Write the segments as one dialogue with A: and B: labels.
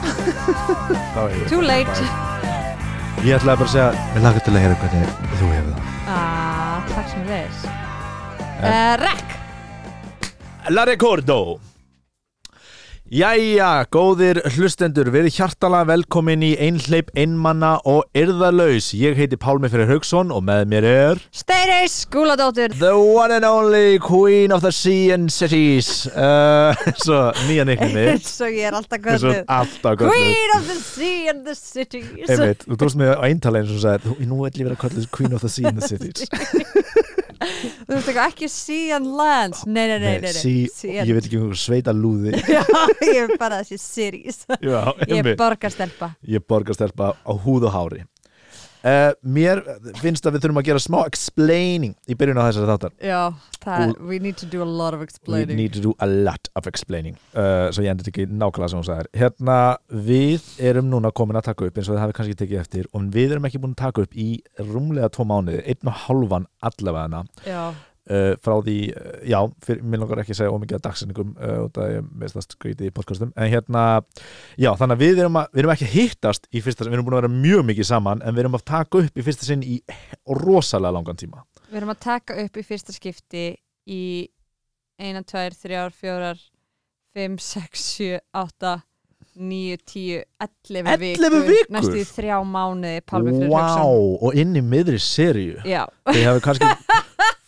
A: Þá er ég.
B: Too late
A: Ég ætlaði bara að segja, ég laga til að heyra hvernig þú hefur það.
B: ah, Takk sem við uh, Rekk
A: La Recordo Jæja, góðir hlustendur, verið hjartala velkomin í Einhleip, Einmanna og Yrðalaus. Ég heiti Pálmi Fyrir Haugsson og með mér er
B: Steiris Skúladóttur
A: The one and only queen of the sea and cities. Uh, svo nýja neiknum við,
B: eins og ég er alltaf
A: svo
B: kvöldu
A: alltaf gott.
B: Queen of the sea and the city
A: Einmitt, þú tókst mig á eintala eins og sagði, "Þú- nú ætlum ég verið að kalla þessu queen of the sea and the cities.
B: Þú veist eitthvað ekki sea and lands Nei, nei, nei, nei, nei.
A: sí,
B: Sea and-
A: ég veit ekki um sveita lúði.
B: Já, ég er bara þessi series
A: Já,
B: Ég er
A: einmitt.
B: borgarstelpa
A: ég borgarstelpa á húð og hári uh, mér finnst að við þurfum að gera smá explaining í byrjun á þessari þáttar
B: Já, það,
A: Og-
B: we need to do a lot of
A: we
B: explaining
A: need to do a lot of explaining uh, svo ég endur ekki nákvæmlega sem hún sagði hérna við erum núna komin að taka upp eins og þið hafi kannski tekið eftir og við erum ekki búin að taka upp í rúmlega tvo mánuði einn og hálfan allavega
B: Já,
A: uh, frá því, uh, já, fyrir, mér langar ekki að segja ómikið að dagsendingum uh, og það er mest að skríti í podcastum en hérna, já, þannig að við erum, að, við erum ekki að hittast í fyrsta sinn, við erum búin að vera mjög mikið saman en við erum að taka upp í fyrsta sinn í rosalega langan tíma
B: við erum að taka upp í fyrsta skipti í 1, 2, 3, 4 5, 6, 7, 8 9, 10, 11 vikur
A: 11 vikur?
B: næstu í þrjá mánuði Pálmi Freyr Hauksson
A: wow, og inn í miðri seríu
B: Já,
A: þið hefur kannski,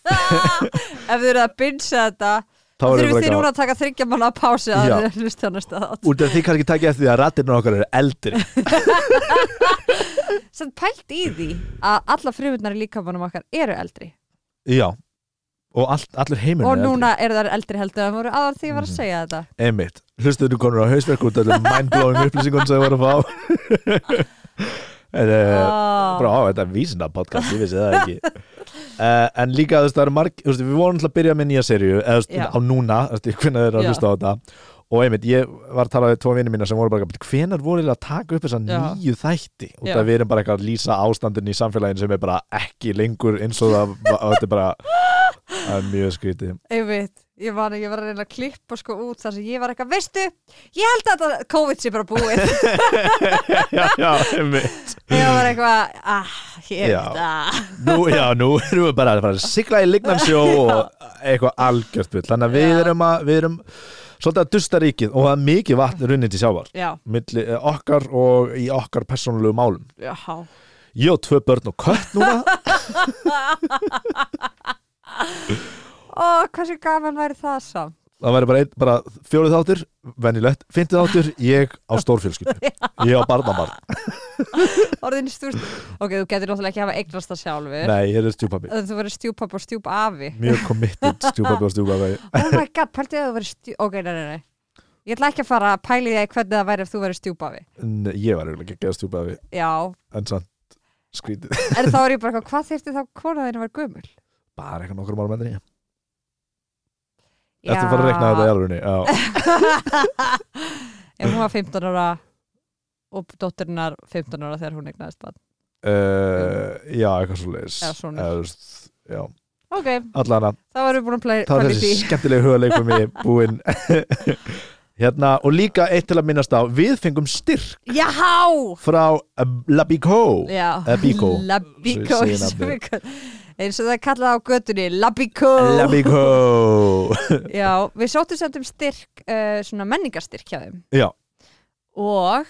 B: ef þið eru að binsa þetta
A: þá
B: þá
A: erum
B: þurfum þið
A: við bara
B: núna
A: gáð
B: að taka þryggja manna að pási að
A: Já.
B: þið hlust á næsta þátt
A: út af því kannski takja eftir því að rattirna okkar eru eldri
B: Sann pælt í því að alla frumundnar í líkamannum okkar eru eldri
A: já, og all, allir heimurinn
B: og
A: er eldri. Mhm.
B: núna eru þær eldri heldur en voru áður því ég var að segja þetta
A: Einmitt, hlustuðu konur á hausverk út af öllum mindblowing upplýsingum sem þið voru að fá en uh,
B: Ah.
A: bara á, þetta er vísinda podcast, ég vissi það ekki uh, en líka þú veist, það eru marg þú veist, við vorum alltaf að byrja með nýja serju eða þú
B: Já.
A: veist, á núna, þú veist, hvernig þeir eru að
B: Já.
A: hlusta á þetta og einmitt, ég var að tala við tvo vinnir mína sem voru bara, hvenar voru þeir að taka upp þessa
B: Já.
A: nýju þætti út
B: Já.
A: af við erum bara eitthvað að lýsa ástandin í samfélagin sem er bara ekki lengur eins og það var- og þetta er bara það er mjög skrítið
B: Einmitt, ég man að ég var að reyna að klippa sko út þar sem ég var eitthvað, veistu, ég held að þetta COVID sé bara búið.
A: já, já, einmitt
B: ég var eitthvað, ah, ég
A: Já.
B: veit það.
A: Nú, já, nú erum við bara að fara að sigla í lignansjó og eitthvað algjört bull. Þannig að við
B: Já.
A: erum, að, við erum svolítið að dusta ríkið og það er mikið vatn runnið til sjávar.
B: Já,
A: Milli eh, okkar og í okkar persónulegu málum.
B: já,
A: Ég á tvö börn og kött núna.
B: ó, hversu gaman væri það samt.
A: Það væri bara, ein, bara fjórið þáttur, venjulegt, fintið þáttur, ég á stórfjölskyldu. Ég á barnabarn.
B: Orðin stúrst, ok, þú getur náttúrulega ekki hafa eignast það sjálfur.
A: Nei, ég er stjúpabbi.
B: En Þú verður stjúpappa og stjúpafi.
A: Mjög committed stjúpabbi og stjúpabbi.
B: Oh my god, pæltið að þú verður stjú... Ok, nei, nei, nei. Ég ætla ekki að fara að pæli því hvernig það væri ef þú verður stjúpafi.
A: En Ég var eiginlega ekki að stjúpabbi,
B: Já,
A: en samt skrítið.
B: en þá er ég bara eitthvað, hvað þyrfti þá kona þín að vera gömul?
A: Bara eitthvað nokkrum árum enn ég. Þetta var að rekna þetta í alvegni. Já.
B: ef hún var 15 ára og dóttirinnar 15 ára þegar hún eignaðist bann
A: uh, já, eitthvað svo leiðis
B: Eða svona.
A: já,
B: ok,
A: allana,
B: þá erum við búin að play-
A: það er
B: pæla í því
A: þessi skemmtilegi huguleik með mig búinn hérna, og líka eitt til að minnast á við fengum styrk
B: jáhá
A: frá eh, La Bico
B: já,
A: Eh, Bíkó.
B: labíkó
A: Svo ég
B: eins
A: segi
B: og
A: nafnið.
B: við köll- eins og það er kallað á götunni labíkó
A: La Bico
B: já, við sóttum sendum styrk uh, svona menningarstyrk hjá þeim
A: já,
B: og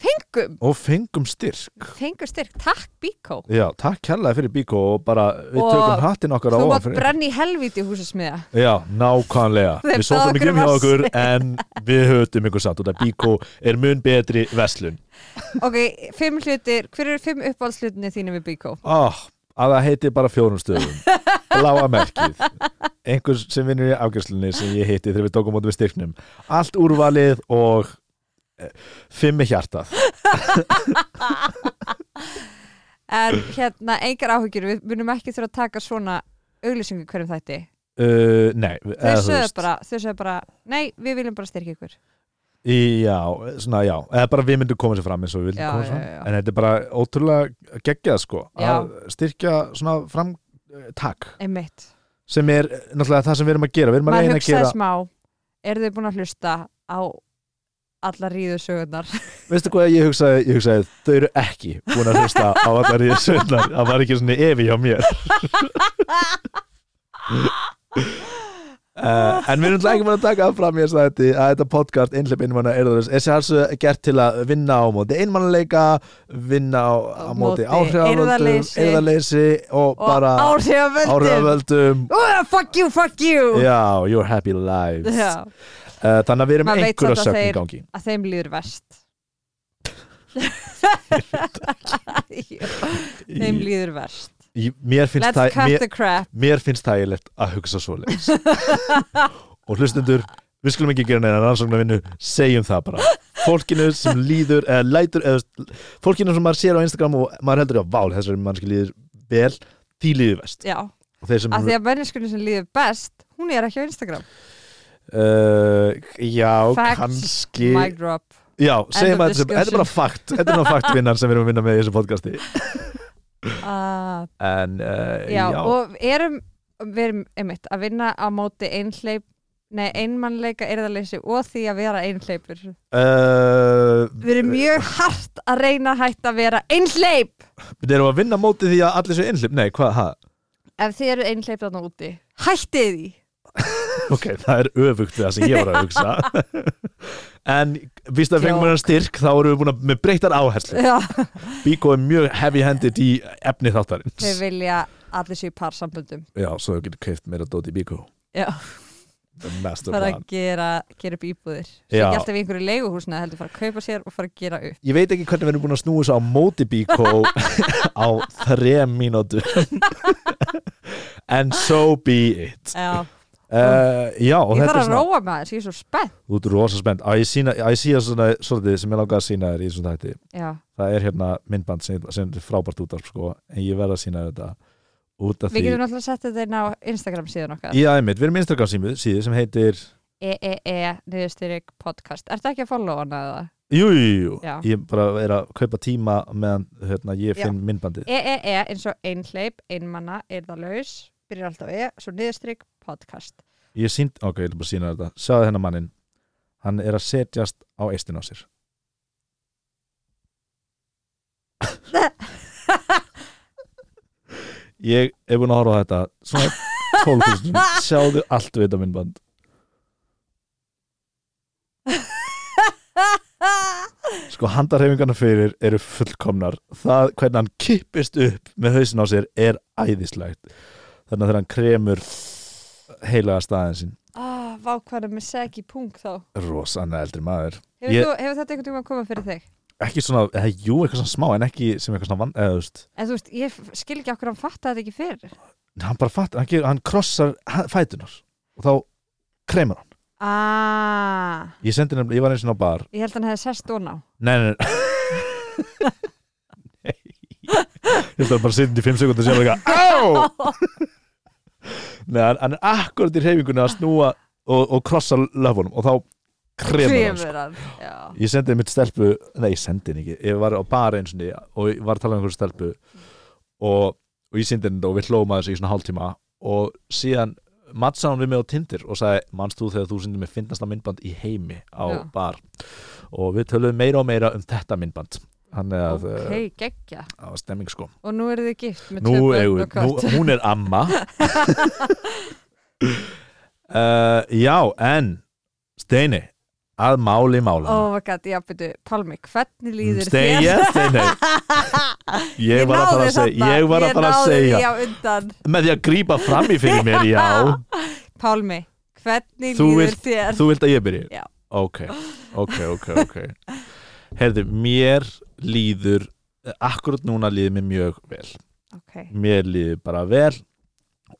B: fengum
A: og fengum styrk
B: fengum styrk, takk bíkó
A: já, takk kærlega fyrir Bico og bara við
B: Og
A: tökum hattinn okkar á
B: þú
A: ofan
B: mátt
A: fyrir
B: brenni helvíti húsasmiða
A: Já, nákvæmlega.
B: Þeir
A: Við sóttum
B: báðu
A: ekki
B: okkur um
A: um hjá
B: að
A: okkur en við höfðum ykkur samt út að Bíkó er mun betri veslun.
B: ok, fimm hlutir, hver eru fimm uppáhaldslutinni þínum við bíkó?
A: oh, að það heiti bara fjórum stöðum bláa merkið einhver sem vinnur í afgjörslunni sem ég heiti þegar við tókum út við styrknum allt úrvalið og eh, fimm með hjartað
B: En hérna, engar áhyggjur, við munum ekki þurfa að taka svona auglýsingu í hverjum þætti.
A: uh, nei, eða
B: Þau
A: þú
B: sögðu
A: veist,
B: bara, þau sögðu bara, nei, við viljum bara styrkja ykkur.
A: í- já, svona já eða bara við myndum koma sér fram eins og við vildum
B: Já,
A: koma
B: já,
A: fram
B: já, já.
A: en þetta er bara ótrúlega geggjað sko
B: Já.
A: að styrkja svona fram eh, tak
B: Einmitt.
A: sem er eh, náttúrulega það sem við erum að gera við erum að
B: Maður
A: reyna að
B: hugsaði
A: gera
B: smá, eru þau búin að hlusta á alla ríðusögurnar
A: veistu hvað ég hugsaði, ég hugsaði þau eru ekki búin að hlusta á allar í sögnar það var ekki svona evi hjá mér Uh, en við erum náttúrulega ekki mann að taka það fram ég sagði að þetta podcast einhleip einmanna erðurins er sér alveg gert til að vinna á móti einmannleika, vinna á, á
B: Á
A: móti
B: móti
A: áhrifavöldum,
B: eirðarleysi.
A: eirðarleysi og
B: og
A: bara
B: áhrifavöldum
A: áhrifavöldum
B: oh, fuck you, fuck you
A: já, your happy lives
B: Já,
A: uh, þannig að við erum
B: Maður veit
A: einhverja
B: samt að
A: sögn í
B: þeir-
A: gangi
B: að þeim líður verst Jú, þeim
A: Í-
B: líður verst
A: í- mér finnst
B: let's
A: það
B: cut
A: mér,
B: the crap
A: mér finnst það eiginlegt að hugsa svoleiðis og hlustendur við skulum ekki gera neina rannsóknarvinnu segjum það bara fólkinu sem líður eða lætur eða, fólkinu sem maður sér á Instagram og maður heldur að vál þessari mannski líður vel því líður vest
B: já,
A: og þeir sem
B: af því að menniskunni sem líður best hún er ekki á Instagram
A: uh, já
B: Facts,
A: kannski
B: mic drop
A: já segjum
B: of
A: að þetta sem- þetta er bara fakt þetta er bara faktvinnar sem við erum að vinna með í þessu podcasti
B: uh,
A: en uh,
B: já,
A: já,
B: og erum við erum einmitt að vinna á móti einhleip nei, einmannleika erðaleysi og því að vera einhleipur
A: Uh,
B: við erum mjög hart að reyna að hætta að vera einhleip
A: Við erum að vinna mótið því að allir séu einhleip Nei, hvað, hæ?
B: ef þið eru einhleip þarna úti hættið því
A: Ok, það er öfugt við það sem ég var að hugsa En víst að fengum við hann styrk þá erum við búin að með breyttar áherslu
B: já,
A: Bíko er mjög heavy handed í efni þáttarins
B: þau vilja allir séu par samböndum
A: Já, svo þú getur keift meira dót í Bíko
B: Já.
A: The master
B: fara
A: plan
B: að gera, gera upp íbúðir sem
A: Já.
B: ekki alltaf í einhverju leiguhúsna heldur fara að kaupa sér og fara að gera upp
A: Ég veit ekki hvernig við erum búin að snúa þessu á móti Bíko á þrem mínútu And so be it
B: já.
A: uh, Já, og
B: ég
A: þetta
B: þarf
A: er
B: að
A: svona
B: róa maður, ég er svo spennt
A: Þú ert rosa spennt Á, ég sína, á, ég sína svona, svona sem ég langa að sína þér í svona þætti
B: já,
A: það er hérna myndband sem, sem er frábært útarp sko, en ég verð að sína þér þetta út af
B: við
A: því
B: getum náttúrulega sett þetta inn á Instagram síðan okkar
A: Já, einmitt, við erum Instagram síðu, síðu sem heitir
B: E EEE niðurstyrk podcast Ertu ekki að followa hana eða?
A: Jú, jú, jú,
B: Já.
A: ég bara er að kaupa tíma meðan hérna, ég
B: Já.
A: finn myndbandið
B: EEE E eins og einhleip, einmanna, erðalaus byrjar alltaf á E, svo niðurstyrk podcast
A: Ég sínd, ok, ég ætla bara að sína þér þetta Sjáðu hennar mannin, hann er að setjast á eistin á sér Ég er búin að horfa á þetta svona 12.000 Sjáðu allt við þetta myndband sko handarhefingarna fyrir eru fullkomnar það hvernig hann kippist upp með hausin á sér er æðislegt þannig að þegar hann kremur heilaga staðin sín
B: ah, Vá hvað er með segi punk þá
A: rosanna eldri maður
B: Hefur,
A: Ég-
B: þú, hefur þetta einhvern tíma að koma fyrir þig?
A: ekki svona, eða, jú, eitthvað svona smá en ekki sem eitthvað svona vann, eða þú veist
B: En þú veist, ég f- skil ekki okkur hann fatta þetta ekki fyrir
A: hann bara fatt, hann, gerir, hann krossar ha- fætunar og þá kremur hann
B: Ah,
A: ég sendi nefnilega, ég var eins og á bar
B: ég held hann hefði sest og ná
A: nei, nei, nei Nei. ég ætla bara að sitja í fimm sekundir og sér eitthvað, á Nei, hann, hann er akkurat í reyfingunni að snúa og, og krossa löfunum og þá kremur hann sko.
B: Kremur hann Já,
A: Ég sendi mitt stelpu, nei ég sendi henni ekki ég var á bara eins og og ég var að tala um einhverju stelpu og, og ég sendi henni þetta og við hlóum að þessu í svona hálftíma og síðan mattsa hann við mig á Tinder og sagði, manst þú þegar þú sendi mig finnast að myndband í heimi á
B: Já.
A: bar og við töluðum meira og meira um þetta myndband hann er að,
B: ok,
A: okay.
B: geggja
A: það var stemming sko
B: Og nú eru þið gift með tvö
A: Nú,
B: börn og
A: eigum við-
B: kött.
A: nú, hún er amma uh, Já, en Steini, að máli mála
B: Oh my god, já, byrju, Pálmi, hvernig líður
A: Steini, yes, Steini Ég var að fara að segja Ég var að fara að segja
B: Já, undan
A: Með því að grípa fram í fyrir mér, já
B: Pálmi, hvernig
A: Þú
B: líður
A: vilt-
B: þér?
A: Þú vilt að ég byrja?
B: Já.
A: Ok, ok, ok, ok Herðu, mér líður Akkurat núna líður mér mjög vel
B: Ok,
A: Mér líður bara vel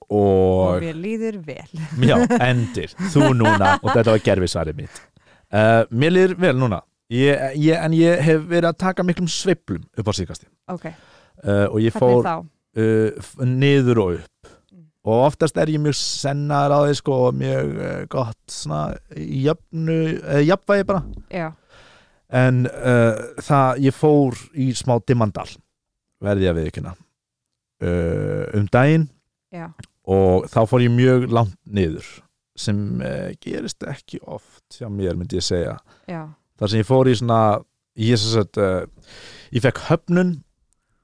B: og
A: Og
B: mér líður vel
A: Já, endir, þú núna og þetta var gerfisvarið mitt uh, Mér líður vel núna ég, ég, en ég hef verið að taka miklum sveiflum upp á síðkasti
B: Ok,
A: uh, og ég
B: hvernig
A: fór uh,
B: þá?
A: f- niður og upp
B: Mm.
A: og oftast er ég mjög sennar á því sko og mjög uh, gott svona í jöfnu, uh, jafnvægi bara
B: Já,
A: en uh, það, ég fór í smá dimmandal verði ég að viðkynna uh, um daginn
B: já,
A: og þá fór ég mjög langt niður sem uh, gerist ekki oft hjá mér myndi ég segja
B: já
A: þar sem ég fór í svona ég, sem sagt, uh, ég fekk höfnun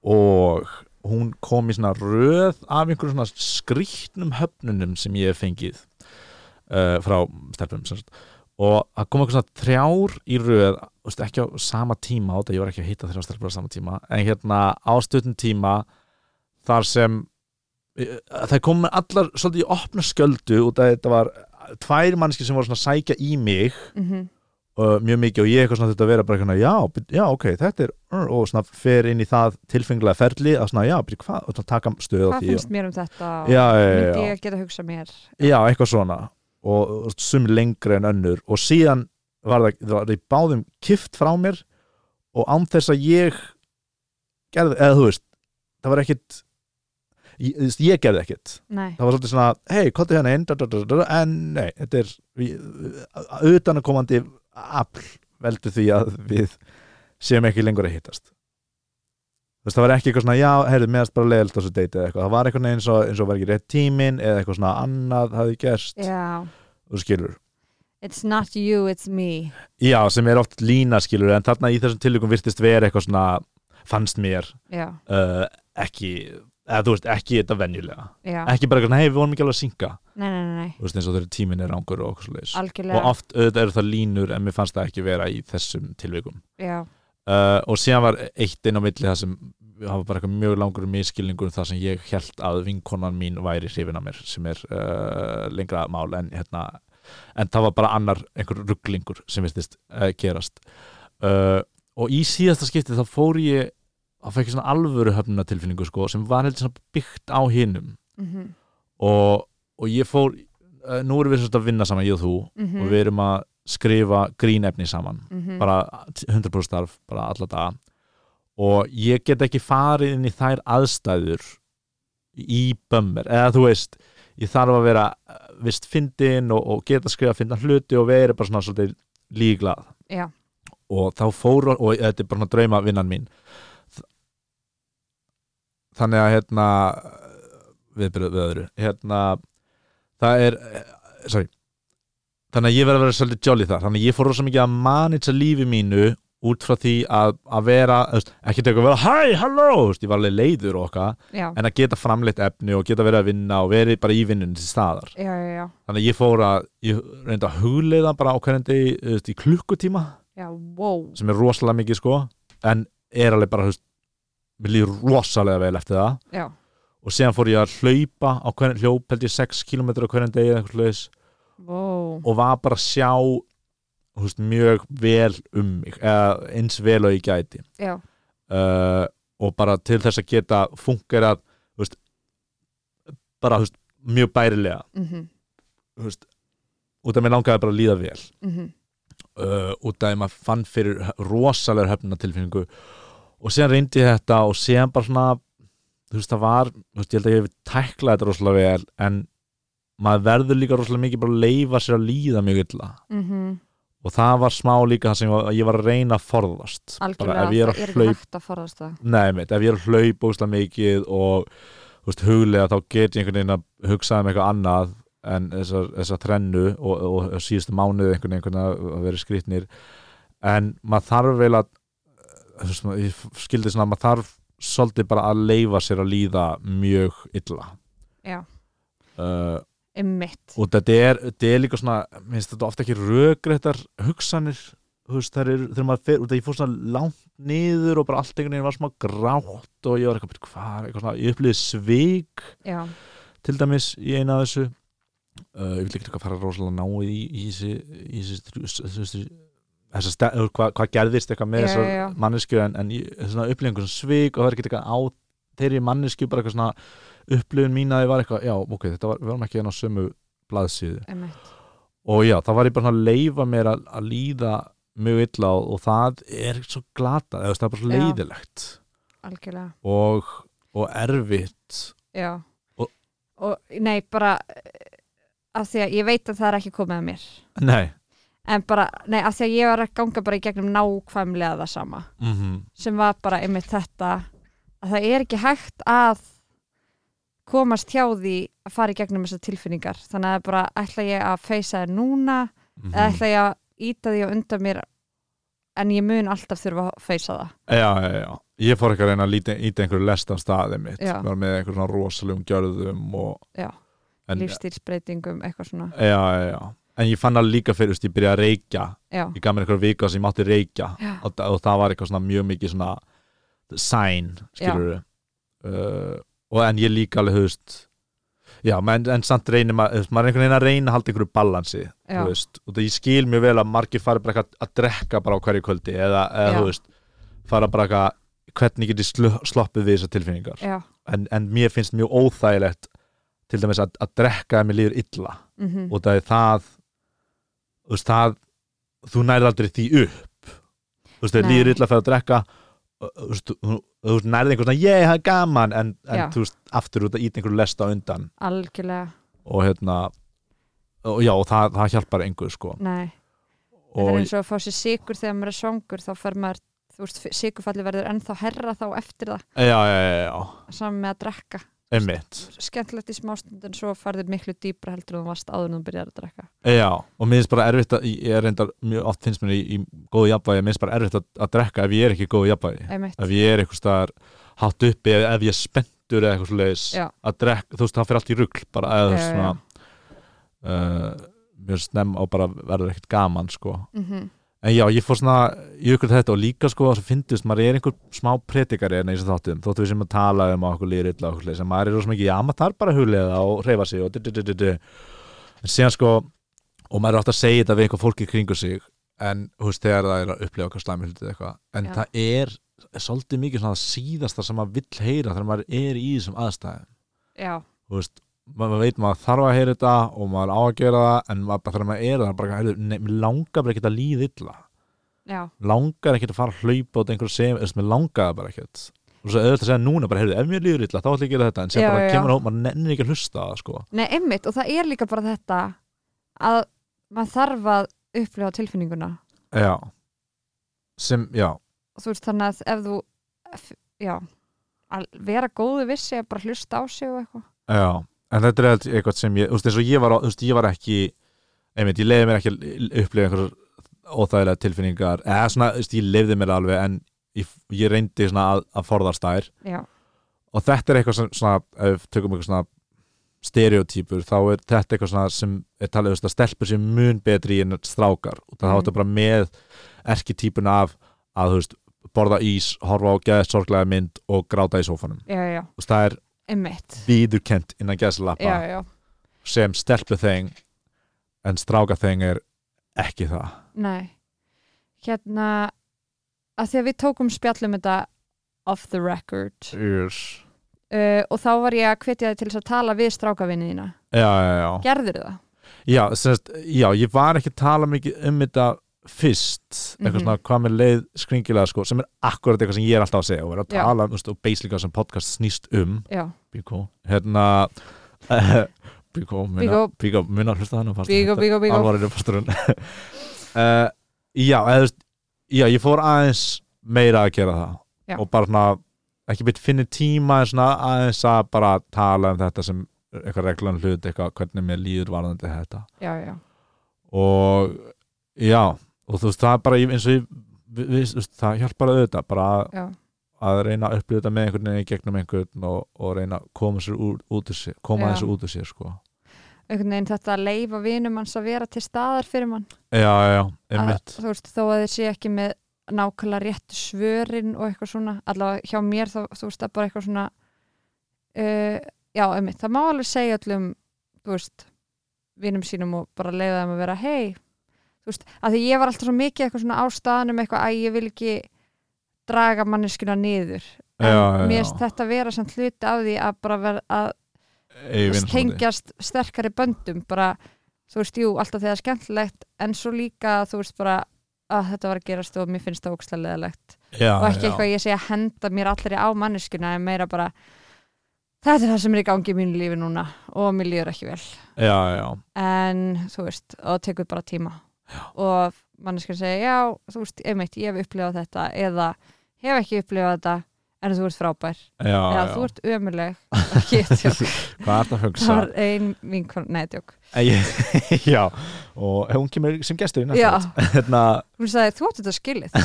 A: og hún kom í svona röð af einhverjum svona skrýtnum höfnunum sem ég hef fengið uh, frá stelpum sem sagt. og það kom eitthvað svona þrjár í röð þú veist, ekki á sama tíma á þetta, ég var ekki að hitta þrjár stelpur á sama tíma en hérna á stuttum tíma þar sem eh, það kom með allar svolítið í opna sköldu út að þetta var tvær mannski sem voru svona að sækja í mig
B: mm -hmm.
A: uh, mjög mikið og ég eitthvað svona þetta að vera bara eitthvað, já, být- já, ok, þetta er uh, og svona fer inn í það tilfenglega ferli að svona, já, být, hvað, og svona taka stöð á
B: hvað
A: því
B: finnst mér um þetta
A: og, já, já, já,
B: myndi
A: já,
B: ég að geta að hugsa mér
A: já, eitthvað svona og og sum lengri en önnur og síðan var það, það var í báðum kift frá mér og án þess að ég gerði, eða þú veist það var ekkit ég, þú veist, ég gerði ekkit
B: nei,
A: það var svolítið svona, hei, kottu hérna inn da, da, da, da, da, en nei, þetta er við- utanakomandi afl veldur því að við séum ekki lengur að hittast Þú veist, það var ekki eitthvað svona, já, heyrðu, meðast bara leiðilt á þessu deiti eða eitthvað, það var eitthvað eins og, eins og var ekki rétt tímin eða eitthvað svona annað hafði gerst
B: já,
A: þú skilur,
B: it's not you, it's me
A: já, sem er oft lína skilur, en þarna í þessum tilvikum virtist vera eitthvað svona, fannst mér
B: já,
A: uh, ekki, eða þú veist, ekki þetta venjulega,
B: já,
A: ekki bara eitthvað, hei, við vorum ekki alveg að synga
B: nei, nei, nei, nei.
A: þú veist, eins og þegar tíminn er ángur og okkur svoleiðis
B: algjörlega
A: og oft auðvitað eru það línur en mér fannst það ekki vera í þessum tilvikum
B: já,
A: uh, og síðan var eitt inn á milli það sem hafa bara eitthvað mjög langur miskilningur um það sem ég held að vinkonan mín væri hrifin að mér sem er uh, lengra mál en hérna en það var bara annar einhver rugglingur sem virtist uh, gerast uh, og í síðasta skipti þá fór ég að fekk ég svona alvöru höfnunatilfinningu sko sem var heldur svona byggt á hinum
B: mhm
A: og, og ég fór uh, nú erum við svolítið að vinna saman ég og þú
B: mhm,
A: og við erum að skrifa grínefni saman
B: mhm.
A: bara 100% starf, bara alla daga og ég get ekki farið inn í þær aðstæður í bömmir, eða þú veist ég þarf að vera eh, vist fyndin og, og geta skrifa fyndna hluti og vera bara svona svolítið líklað
B: Já.
A: og þá fór og þetta er bara svona drauma vinnan mín Þ- þannig að hérna viðbyrðu við öðru hérna, það er eh, sorry þannig að ég verði að vera svolítið jolly þar þannig að ég fór rosa mikið að manitsa lífi mínu út frá því að, að vera þú veist, ekki teka að vera hæ, halló þú veist, ég var alveg leiður og okkar
B: já,
A: en að geta framleitt efni og geta verið að vinna og verið bara í vinnunni til staðar
B: já, já, já,
A: þannig að ég fór að, ég reyndi að hugleiða bara á hverjum degi þú veist, í klukkutíma
B: já, wow
A: sem er rosalega mikið sko en er alveg bara, þú veist, mér líður rosalega vel eftir það
B: já,
A: og síðan fór ég að hlaupa á hverjum hljóp held ég 6 km á hverjum degi eða eitthvað leis
B: wow
A: og var bara að sjá þú veist, mjög vel um mig eða eins vel og ég gæti
B: já,
A: uh, og bara til þess að geta fungerað þú veist, bara þú veist, mjög bærilega
B: mhm,
A: þú veist, út af mér langaði bara að líða vel
B: mhm,
A: uh, út af því maður fann fyrir rosalega höfnunatilfinningu og síðan reyndi ég þetta og síðan bara svona þú veist það var, þú veist ég held að ég hef tæklað þetta rosalega vel en maður verður líka rosalega mikið bara að leifa sér að líða mjög illa
B: mhm
A: og það var smá líka það sem ég var, ég var að reyna að forðast bara
B: algjörlega,
A: ef ég
B: það er
A: er að
B: ekki
A: hlaup
B: hægt að forðast það
A: nei, mitt, ef ég er að hlaup óslega mikið og þú veist, huglega þá get ég einhvern veginn að hugsa um eitthvað annað en þessar, þessar þrennu og, og, og síðustu mánuð einhvern veginn að að vera skrýtnir en maður þarf vel að þú veist, maður- ég skildi svona að maður þarf svolítið bara að leifa sér að líða mjög illa
B: Já.
A: uh,
B: einmitt,
A: og þetta er, þetta er líka svona minnst þetta ofta ekki rökréttar hugsanir þú veist, þær eru, þegar maður fer út að ég fór svona langt niður og bara allt einhvern veginn var smá grátt og ég var eitthvað, hvað, eitthvað svona, ég upplýði svik
B: já,
A: til dæmis í eina af þessu uh, ég vil ekki eitthvað fara rosalega náið í, í þessi, í þessi, þessi þess að stæður, hvað, hvað gerðist eitthvað með
B: Já,
A: þessar
B: já, já.
A: mannesku en, en ég- svona upplýðingur svona svik og það er ekki eitthvað á þeirri mannesku bara eitthvað svona upplýðin mín að ég var eitthvað, já, ok, þetta var, við varum ekki enn á sömu blaðsíðu
B: einmitt
A: og já, það var ég bara að leifa mér að, að líða mjög illa og, og það er svo glata, eða þú veist, það er bara svo
B: Já.
A: leiðilegt
B: algjörlega,
A: og, og erfitt
B: já
A: Og-
B: og nei, bara eh, af því að ég veit að það er ekki komið að mér
A: Nei
B: en bara, nei, af því að ég var að ganga bara í gegnum nákvæmlega það sama
A: mm
B: sem var bara einmitt þetta að það er ekki hægt að komast hjá því að fara í gegnum þessar tilfinningar þannig
A: mhm. Mm.
B: að bara ætla ég að feysa þér núna eða ætla ég að íta því og undan mér en ég mun alltaf þurfa að feysa það
A: Já, já, já. Ég fór ekki að reyna að líta ít einhverju lest af staðið mitt.
B: Já.
A: Var með einhverjum svona rosalegum gjörðum og...
B: Já.
A: En, já,
B: lífstýrsbreytingum, eitthvað svona
A: já, já. En ég fann það líka fyrir, þú veist, ég byrjaði að reykja.
B: já,
A: Ég gaf mér einhverju vika sem ég mátti reykja.
B: já,
A: Og, þa- og það var eitthvað svona mjög mikið svona sign, skilur við. Uh, og en ég líka alveg, þú veist... Já, menn, en samt reynir maður, þú veist, maður er einhvern veginn að reyna að halda einhverju balansi,
B: já,
A: þú veist, og það ég skil mjög vel að margir fara bara eitthvað að drekka bara á hverju kvöldi eða, eða
B: Já.
A: þú veist, fara bara eitthvað hvernig get ég slu, sloppið við þessar tilfinningar
B: já
A: en, en mér finnst mjög óþægilegt til dæmis að, að drekka að mér líður illa
B: mm -hmm.
A: og það er það þú veist, það þú nærð aldrei því upp þú veist, það
B: Nei.
A: líður illa fyrir að drekka og, þú veist, þú, þú veist, nærð einhvern svona ég, það er gaman, en,
B: Já.
A: en þú veist, aftur út að ít einhverju lesta á undan
B: algjörlega,
A: og hérna og já, og það, það hjálpar engu, sko
B: nei þetta er
A: og
B: eins og að fá sér sigur þegar maður er svangur þá fer maður, þú veist, sigurfalli verður ennþá herra þá eftir það,
A: já, já, já, já,
B: saman með að drekka
A: einmitt
B: skemmtilegt í smástund en svo farðir miklu dýpra heldur en þú varst áður en þú byrjar að drekka
A: já, og mér finnst bara erfitt að ég er reyndar, mjög oft finnst mér í, í góðu jafnvægi, mér finnst bara erfitt að, að drekka ef ég er ekki í góðu jafnvægi,
B: einmitt,
A: ef ég er eitthvað staðar hátt uppi, ef, ef ég er spenntur eða eitthvað svoleiðis,
B: Já.
A: að drekka, þú veist, það fyrir allt í rugl bara, eða þú veist,
B: Já, já, já.
A: svona uh, mér finnst snemm og bara verður ekkert gaman, sko
B: mm
A: en já, ég fór svona í ykkur þetta og líka sko að fyndist, maður er einhver smá predikari en eins og þáttum, þóttu við sem að tala um að okkur líður illa og okkur leys, en maður er rosa mikið já, maður þarf bara að huglega og reyfa sig og du, du, du, du, du. en síðan sko og maður er alltaf að segja þetta við einhver fólki kringu sig en þú veist, þegar það er að upplega okkar slæmi hluti eða eitthvað, en
B: Já.
A: það er svolítið mikið svona það síðasta sem maður vill heyra þegar maður er í þessum aðstæðum
B: já,
A: þú veist, ma- maður veit maður þarf að heyra þetta og maður á að gera það en maður bara þegar maður er það er bara, heyrðu, nei, mér langar bara ekki að líða illa
B: já,
A: langar ekkert að fara að hlaupa út einhverju sem, þess að mér langar það bara ekkert og svo auðvitað að segja núna bara, heyrðu, ef mér líður illa þá ætla ég að gera þetta, en sem
B: Já,
A: bara
B: já,
A: kemur
B: já.
A: á, maður nennir ekki að hlusta á það, sko
B: nei, einmitt og það er líka bara þetta að maður þarf að upplifa tilfinninguna
A: já, sem, já,
B: og þú veist þannig að ef þú f- já, að vera góðu vissi að bara hlusta á sig og eitthvað
A: já en þetta er held- eitthvað sem ég, þú veist, eins og ég var á- þú veist, ég var ekki, einmitt, ég leiði mér ekki að upplifa einhverjar óþægilega tilfinningar, eða svona, þú veist, ég leiði mér alveg en ég, ég reyndi svona að, að forðast þær
B: já,
A: og þetta er eitthvað sem svona, ef við tökum eitthvað svona stereotypur, þá er þetta eitthvað svona sem er talið þú veist, að stelpur sem mun betri en strákar og það
B: Mhm.
A: mm. áttu bara með erkitýpuna af að þú veist, borða ís, horfa á geðið sorglega mynd og gráta í sófanum
B: já, já,
A: og það er
B: einmitt
A: viðurkent innan geðslappa
B: já, já,
A: sem stelpu þeng en stráka þeng er ekki það
B: nei hérna að því að við tókum spjallum þetta off the record
A: Úrs.
B: uh, og þá var ég að hvetja þig til þess að tala við strákavinni þína,
A: Já, já, já
B: gerður það?
A: Já, semst, já, ég var ekki að tala mikið um þetta fyrst eitthvað
B: Mhm.
A: svona hvað með leið skringilega sko, sem er akkurat eitthvað sem ég er alltaf að segja og vera að
B: Já.
A: tala um, þú veist, og basically sem podcast snýst um
B: já,
A: Bíkó, hérna eh, Bíkó, muna,
B: Bíkó.
A: Bíkó, muna hlusta þannig
B: bígó, bígó, bígó
A: alvarinu fasturinn uh, Já, eða þú veist já, ég fór aðeins meira að gera það
B: Já.
A: og bara svona ekki beitt finni tíma en svona aðeins að bara tala um þetta sem eitthvað reglan hlut, eitthvað hvernig mér líður varðandi þetta
B: já, já,
A: og já og þú veist það er bara ég- eins og ég við, við, þú veist, það hjálpar að auðvitað bara að-
B: já,
A: að reyna að upplifa þetta með einhvern veginn í gegnum einhvern og, og reyna að koma sér úr, út úr sér, koma
B: Já.
A: þessu út úr sér sko.
B: einhvern veginn þetta að leifa vinum hans að vera til staðar fyrir mann
A: já, já, já,
B: að,
A: einmitt
B: þú veist, þó að þið sé ekki með nákvæmlega réttu svörin og eitthvað svona, allavega hjá mér þá, þú veist, það er bara eitthvað svona uh, já, einmitt, það má alveg segja öllum, þú veist vinum sínum og bara leiða þeim að vera hei, þú veist, að því ég var alltaf svo mikið eitthvað svona á staðanum eitthvað að ég vil ekki draga manneskuna niður, en
A: Já, já,
B: mér
A: já.
B: finnst þetta vera sem hluti af því að bara vera að
A: Ég vinn svona því.
B: tengjast sterkari böndum bara, þú veist, jú, alltaf þegar skemmtilegt en svo líka, þú veist, bara að þetta var að gerast og mér finnst það ókslega leðalegt
A: já,
B: og ekki
A: Ah, já.
B: eitthvað ég segja henda mér allri á manneskuna en meira bara þetta er það sem er í gangi í mínu lífi núna og mér líður ekki vel
A: já, já,
B: en þú veist, og það tekur bara tíma já. og manneskun segja já, þú veist, einmitt, ég hef upplifað þetta eða hef ekki upplifað þetta en þú ert frábær
A: já,
B: eða
A: Ah, já.
B: þú ert ömuleg Ekki, djók.
A: hvað er það að
B: það
A: hugsa
B: var ein vinkon, nei, djók
A: En ég, já, og hún kemur sem gestur í
B: já,
A: næsta þátt. hérna,
B: hún sagði þú átt þetta skilið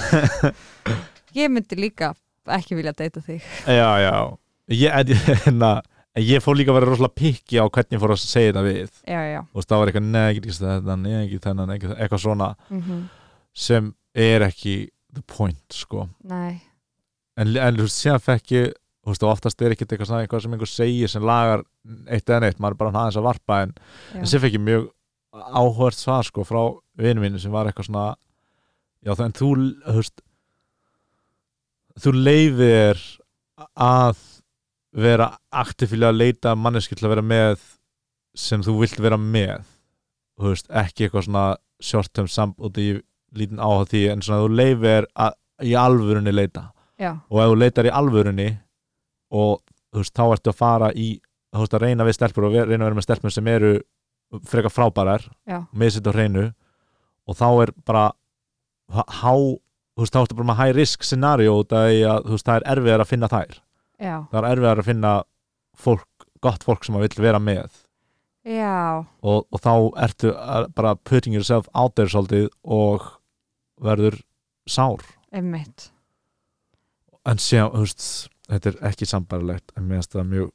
B: ég myndi líka ekki vilja deyta þig
A: já, já ég, en, hérna, en ég fór líka að vera rosalega pikki á hvernig ég fór að segja þetta við
B: já, já,
A: og það var eitthvað negri þennan, negri þennan ekki, eitthvað svona
B: mm
A: sem er ekki the point sko.
B: nei
A: en, en þú veist, síðan fekk ég þú veist, og oftast er ekkert eitthvað, svona, eitthvað sem einhver segir sem lagar eitt eða neitt, maður er bara aðeins að varpa en,
B: já.
A: en sér fekk ég mjög áhört svar sko frá vinnu mínu sem var eitthvað svona já þannig þú þú veist, þú leifir að vera aktifílega að leita manneski til að vera með sem þú vilt vera með þú veist, ekki eitthvað svona short term sambúti í lítin áhuga því en svona þú leifir að í alvörunni leita
B: já,
A: og ef þú leitar í alvörunni og þú veist, þá ertu að fara í þú veist, að reyna við stelpur og ver- reyna að vera með stelpur sem eru frekar frábærar
B: Já.
A: með sitt á hreinu og þá er bara há, há- þú veist, þá ertu bara með high risk scenario út af því að, þú veist, það er erfiðar að finna þær
B: já,
A: það er erfiðar að finna fólk, gott fólk sem að vill vera með
B: já
A: og, og þá ertu að, bara putting yourself out there svolítið og verður sár
B: einmitt
A: en síðan, þú veist, þetta er ekki sambarlegt en mér finnst það mjög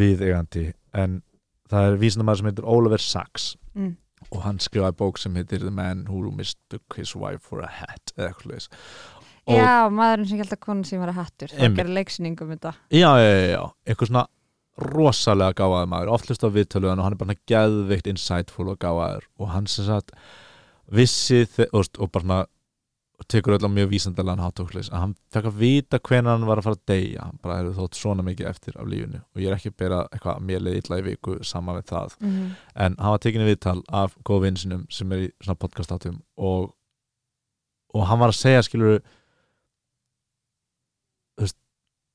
A: viðegandi en það er vísindamæður sem heitir Oliver Sacks
B: Mm.
A: og hann skrifaði bók sem heitir The Man Who Mistook His Wife for a Hat eða eitthvað leis Og-
B: já, maðurinn sem held að konan sem var að hattur það
A: Einmitt.
B: gerir leiksýningum um þetta
A: já, já, já, já, eitthvað svona rosalega gáfaði maður, oft hlust á viðtöluðan og hann er bara svona geðveikt insightful og gáfaður og hann sem sagt vissi þe- og, veist, og bara svona tekur öll á mjög vísandalega hát og hlis að hann fekk að vita hvenær hann var að fara að deyja hann bara hefði þótt svona mikið eftir af lífinu og ég er ekki að bera eitthvað að mér leið illa í viku saman við það
B: mm
A: en hann var tekinn í viðtal af góð vinsinum sem er í svona podcastátum og, og hann var að segja skilur þú veist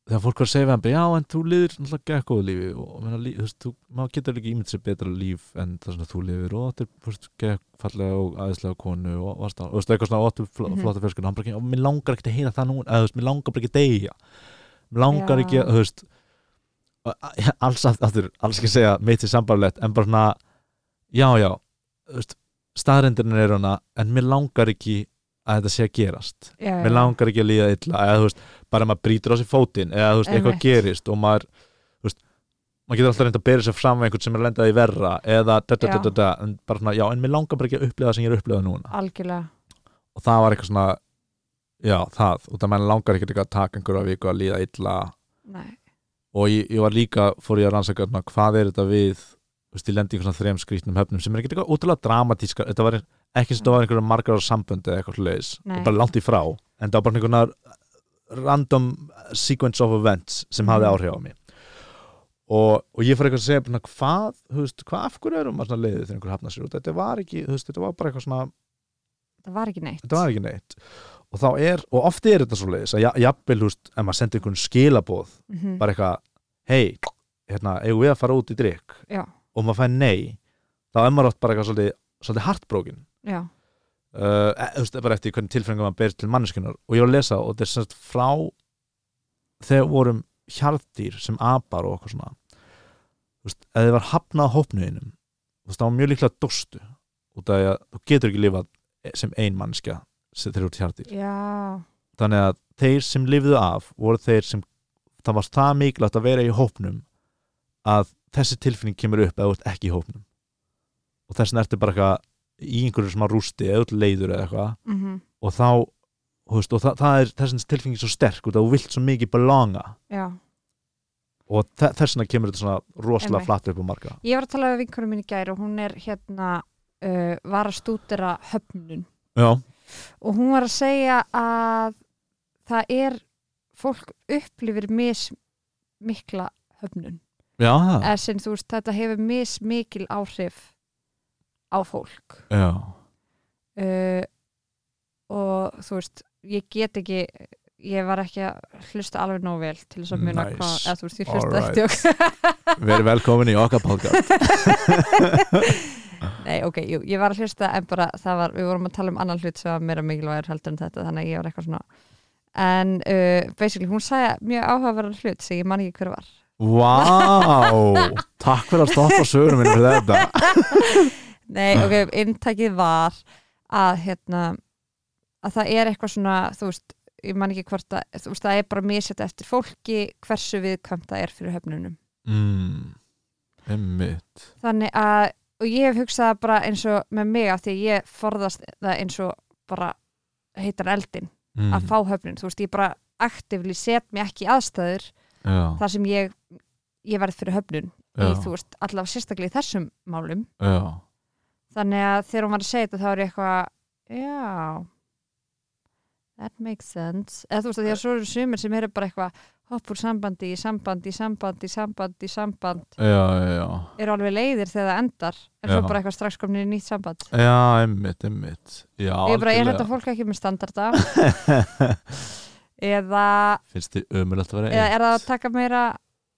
A: þegar fólk var að segja við hann bara, já en þú lifir náttúrulega gekk góðu lífi og og meina, líf, þú veist, þú, maður getur ekki ímynd sér betra líf en það sem þú lifir og þetta er þú veist, gekk fallega og aðeinslega konu og varst á, þú veist, eitthvað svona óttu fl
B: Mhm.
A: flotta fjörskun hann bara ekki, og mér langar ekki að heyra það núna eða þú veist, mér langar bara ekki að deyja mér langar
B: Já.
A: ekki að, þú veist og- alls aft- aftur, alls ekki að segja mitt er sambarlegt, en bara svona já, já, þú veist staðrendirinn er hana, en mér langar ekki að þetta sé að gerast
B: já, já,
A: mér langar ekki að líða illa eða þú veist, bara maður brýtur á sér fótinn eða þú veist, eitthvað
B: Einmitt.
A: gerist og maður þú veist, maður getur alltaf reynda að bera sér fram við einhvern sem er að lenda í verra eða da, da, da, da, da, en bara svona, já, en mér langar bara ekki að upplifa það sem ég er að upplifa núna
B: algjörlega
A: og það var eitthvað svona, já, það og það mann langar ekkert eitthvað að taka einhverja viku að líða illa
B: nei,
A: og ég, ég var líka, fór ég að rannsaka svona, hvað er þetta við þú veist, ég lendi í einhvern svona þrejum skrýtnum höfnum sem er ekkert eitthvað ótrúlega dramatíska þetta var ein- ekki sem þetta var einhverjum margar ára sambönd eða eitthvað hlutis,
B: Nei.
A: bara langt í frá en það var bara einhverjum random sequence of events sem hafði
B: Mhm.
A: áhrif á mig og, og ég fór eitthvað að segja svona, hvað, þú veist, hvað af hverju erum maður svona leiðið þegar einhver hafnar sér út, þetta var ekki þú veist, þetta var bara eitthvað svona
B: það var ekki neitt
A: þetta var ekki neitt og þá er, og oft er þetta svo leiðis að ja- jafnvel, þú veist, ef maður sendir einhvern skilaboð
B: Mhm.
A: bara eitthvað hei, hérna, eigum við að fara út í drikk
B: Já.
A: og maður fær nei þá er maður oft bara eitthvað svolítið, svolítið hartbrókin
B: já,
A: uh, e, þú veist, bara eftir hvernig tilfengum maður ber til manneskunar og ég var að lesa og þetta er sérst frá þegar vorum hjarðdýr sem apar og okkur svona þú veist, eða þið var hafnað hópnuðinum þú veist, það var mjög líklega dóstu út af því að þú getur ekki lifað sem ein mannskja þegar þú ert hjarðdýr
B: já,
A: þannig að þeir sem lifðu af voru þeir sem það var það mikilvægt að vera í hópnum að þessi tilfinning kemur upp eða þú ert ekki í hópnum og þess vegna ertu bara eitthvað í einhverju sem að rústi eða út leiður eða eitthvað
B: mhm,
A: og þá, þú veist, og það, það er þess vegna tilfinning er svo sterk út að þú vilt svo mikið belonga
B: já
A: og þe- þess vegna kemur þetta svona rosalega
B: Einmitt.
A: flatt upp á marga
B: Ég var að tala við vinkunum mín í gær og hún er hérna uh, var að stúdera höfnun
A: já,
B: og hún var að segja að það er fólk upplifir mis mikla höfnun
A: já, það.
B: eða sem þú veist þetta hefur mis mikil áhrif á fólk
A: já,
B: uh, og þú veist ég get ekki ég var ekki að hlusta alveg nóg vel til þess að muna
A: Nice.
B: hvað, eða þú veist, ég hlusta
A: Alright.
B: right. ekki
A: verið velkomin í okkar podcast
B: Nei, ok, jú, ég var að hlusta en bara það var, við vorum að tala um annan hlut sem var meira mikilvægur heldur en þetta þannig að ég var eitthvað svona en uh, basically hún sagði mjög áhugaverðan hlut sem ég man ekki hver var
A: Vá, takk fyrir að stoppa sögurum minn fyrir þetta
B: Nei, ok, inntækið var að hérna að það er eitthvað svona, þú veist ég man ekki hvort að, þú veist, það er bara misjætt eftir fólki hversu viðkvæmt það er fyrir höfnunum
A: mm, Einmitt
B: þannig að, og ég hef hugsað það bara eins og með mig af því að ég forðast það eins og bara heitar eldin
A: mm,
B: að fá höfnun, þú veist, ég bara aktivli set mér ekki í aðstæður
A: Já,
B: þar sem ég, ég verð fyrir höfnun í,
A: já,
B: þú veist, allavega sérstaklega í þessum málum
A: já
B: þannig að þegar hún var að segja þetta þá er ég eitthvað já that makes sense eða þú veist að því að svo eru sumir sem eru bara eitthvað hopp úr sambandi, í sambandi, í sambandi, í sambandi, í samband
A: Já, já, já
B: eru alveg leiðir þegar það endar en svo
A: Já.
B: bara eitthvað strax komnir í nýtt samband
A: Já, einmitt, einmitt Já,
B: ég er bara, er
A: algjörlega.
B: þetta fólk ekki með standarda eða,
A: Finnst þið ömulegt að vera
B: eða er það að taka meira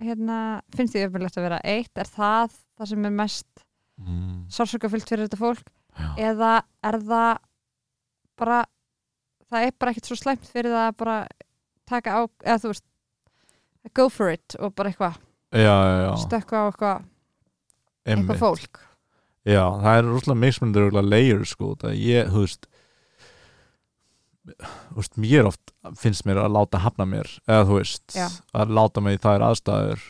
B: hérna, finnst því öfnilegt að vera eitt er það það sem er mest
A: mm,
B: sársökafyllt fyrir þetta fólk
A: Já,
B: eða er það bara það er bara ekkert svo slæmt fyrir það að bara taka á, eða þú veist go for it og bara eitthvað
A: já, já, já
B: stökka á eitthvað,
A: einmitt.
B: eitthvað fólk
A: Já, það er rúslega mismunandi rúslega layer sko, það ég, þú veist þú veist, mér oft finnst mér að láta hafna mér eða þú veist,
B: Já.
A: að láta mig í þær aðstæður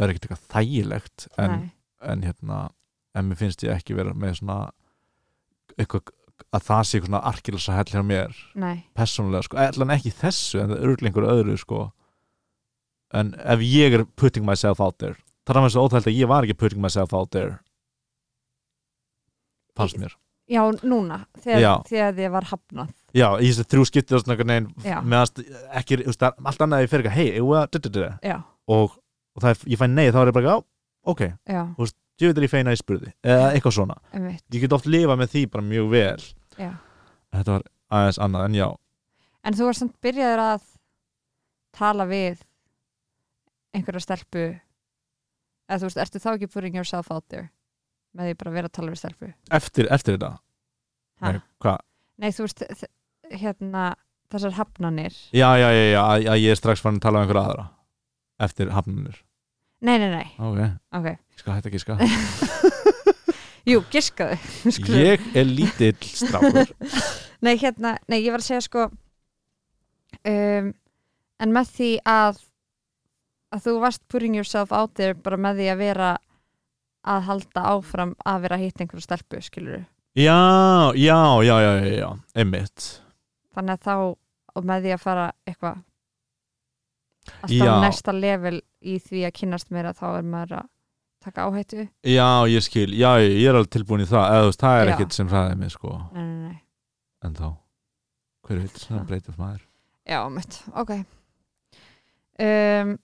A: er ekkert eitthvað þægilegt en,
B: Nei.
A: en hérna en mér finnst ég ekki vera með svona eitthvað, að það sé eitthvað svona arkilsa hell hjá mér,
B: Nei.
A: persónulega sko, allan ekki í þessu, en það er örgulega einhverju öðru sko en ef ég er putting myself out there það er að mér svo óþælt að ég var ekki putting myself out there fannst mér
B: já, núna, þegar,
A: Já.
B: þegar þið var hafnað
A: Já, í þessu þrjú skipti og svona einhvern
B: Já.
A: veginn meðast ekki, þú veist, það er allt annað að ég fer eitthvað, hei, eigum við að d-d-d-d-d
B: já,
A: og, og það er, ég fæ nei, þá er ég bara, já, ok
B: já,
A: ég veit að ég feina að ég spurði, eða eitthvað svona
B: einmitt
A: ég get oft lifað með því bara mjög vel
B: Já.
A: Þetta var aðeins annað, en já
B: en þú var samt byrjaður að tala við einhverja stelpu eða þú veist, ertu þá ekki putting yourself out there með því bara að vera að tala við stelpu
A: eftir, eftir þetta,
B: Ha?
A: nei, hvað
B: Nei, þú veist, þ- hérna, þessar hafnanir.
A: já, já, já, já, að, að ég er strax fann að tala um einhverja aðra eftir hafnunir
B: Nei, nei, nei,
A: ok,
B: ok.
A: ég skal hætta að gíska
B: Jú, giskaðu. Skulum-
A: ég er lítill strákur
B: Nei, hérna, nei, ég var að segja sko, um, en með því að, að þú varst putting yourself out there bara með því að vera að halda áfram að vera að hitta einhverju stelpu, skilur
A: já, já, já, já, já, já einmitt
B: Þannig að þá, og með því að fara eitthvað,
A: Já.
B: alltaf næsta level í því að kynnast meira, þá er maður að taka áhættu.
A: Já, ég skil, já, já, ég er alveg tilbúin í það eða þú veist, það er
B: Já.
A: ekkert sem hraðið mig sko
B: Nei, nei, nei.
A: en þá, hver veit, svona breytist maður
B: Já, mitt, ok um,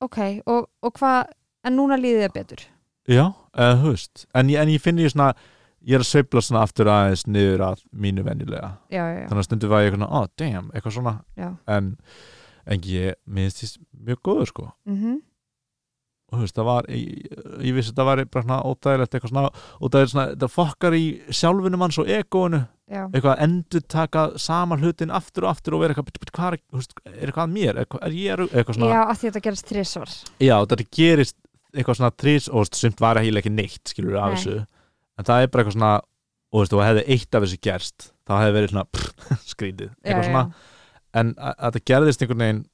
B: Ok, og, og hvað en núna líðið það betur
A: Já, eða þú veist, en, ég- en ég finn ég svona ég er að sveifla svona aftur aðeins niður að mínu venjulega,
B: Já, já, já,
A: þannig að stundu var ég eitthvað, oh damn, eitthvað svona,
B: já.
A: en en ég minnst því mjög góður sko
B: Mm
A: og þú veist, það var, ég, ég vissi þetta var bara svona ódægilegt eitthvað svona og það er svona, það fokkar í sjálfunum hans og egoinu
B: já.
A: eitthvað að endur taka saman hlutin aftur og aftur og vera eitthvað, "Bíddu, bíddu, hvað er, þú veist, er eitthvað að mér, er, hvað- er ég að- eitthvað svona,
B: já að því þetta gerast þrisvar
A: já, þetta gerist eitthvað svona trís og þú veist, sumt var eiginlega ekki neitt skilur af
B: Nei.
A: þessu, en það er bara eitthvað svona og þú veist, og hefði eitt af þessu gerst þá hefði verið svona prr, skrítið
B: já,
A: eitthvað svona,
B: já.
A: en að að þetta gerðist einhvern veginn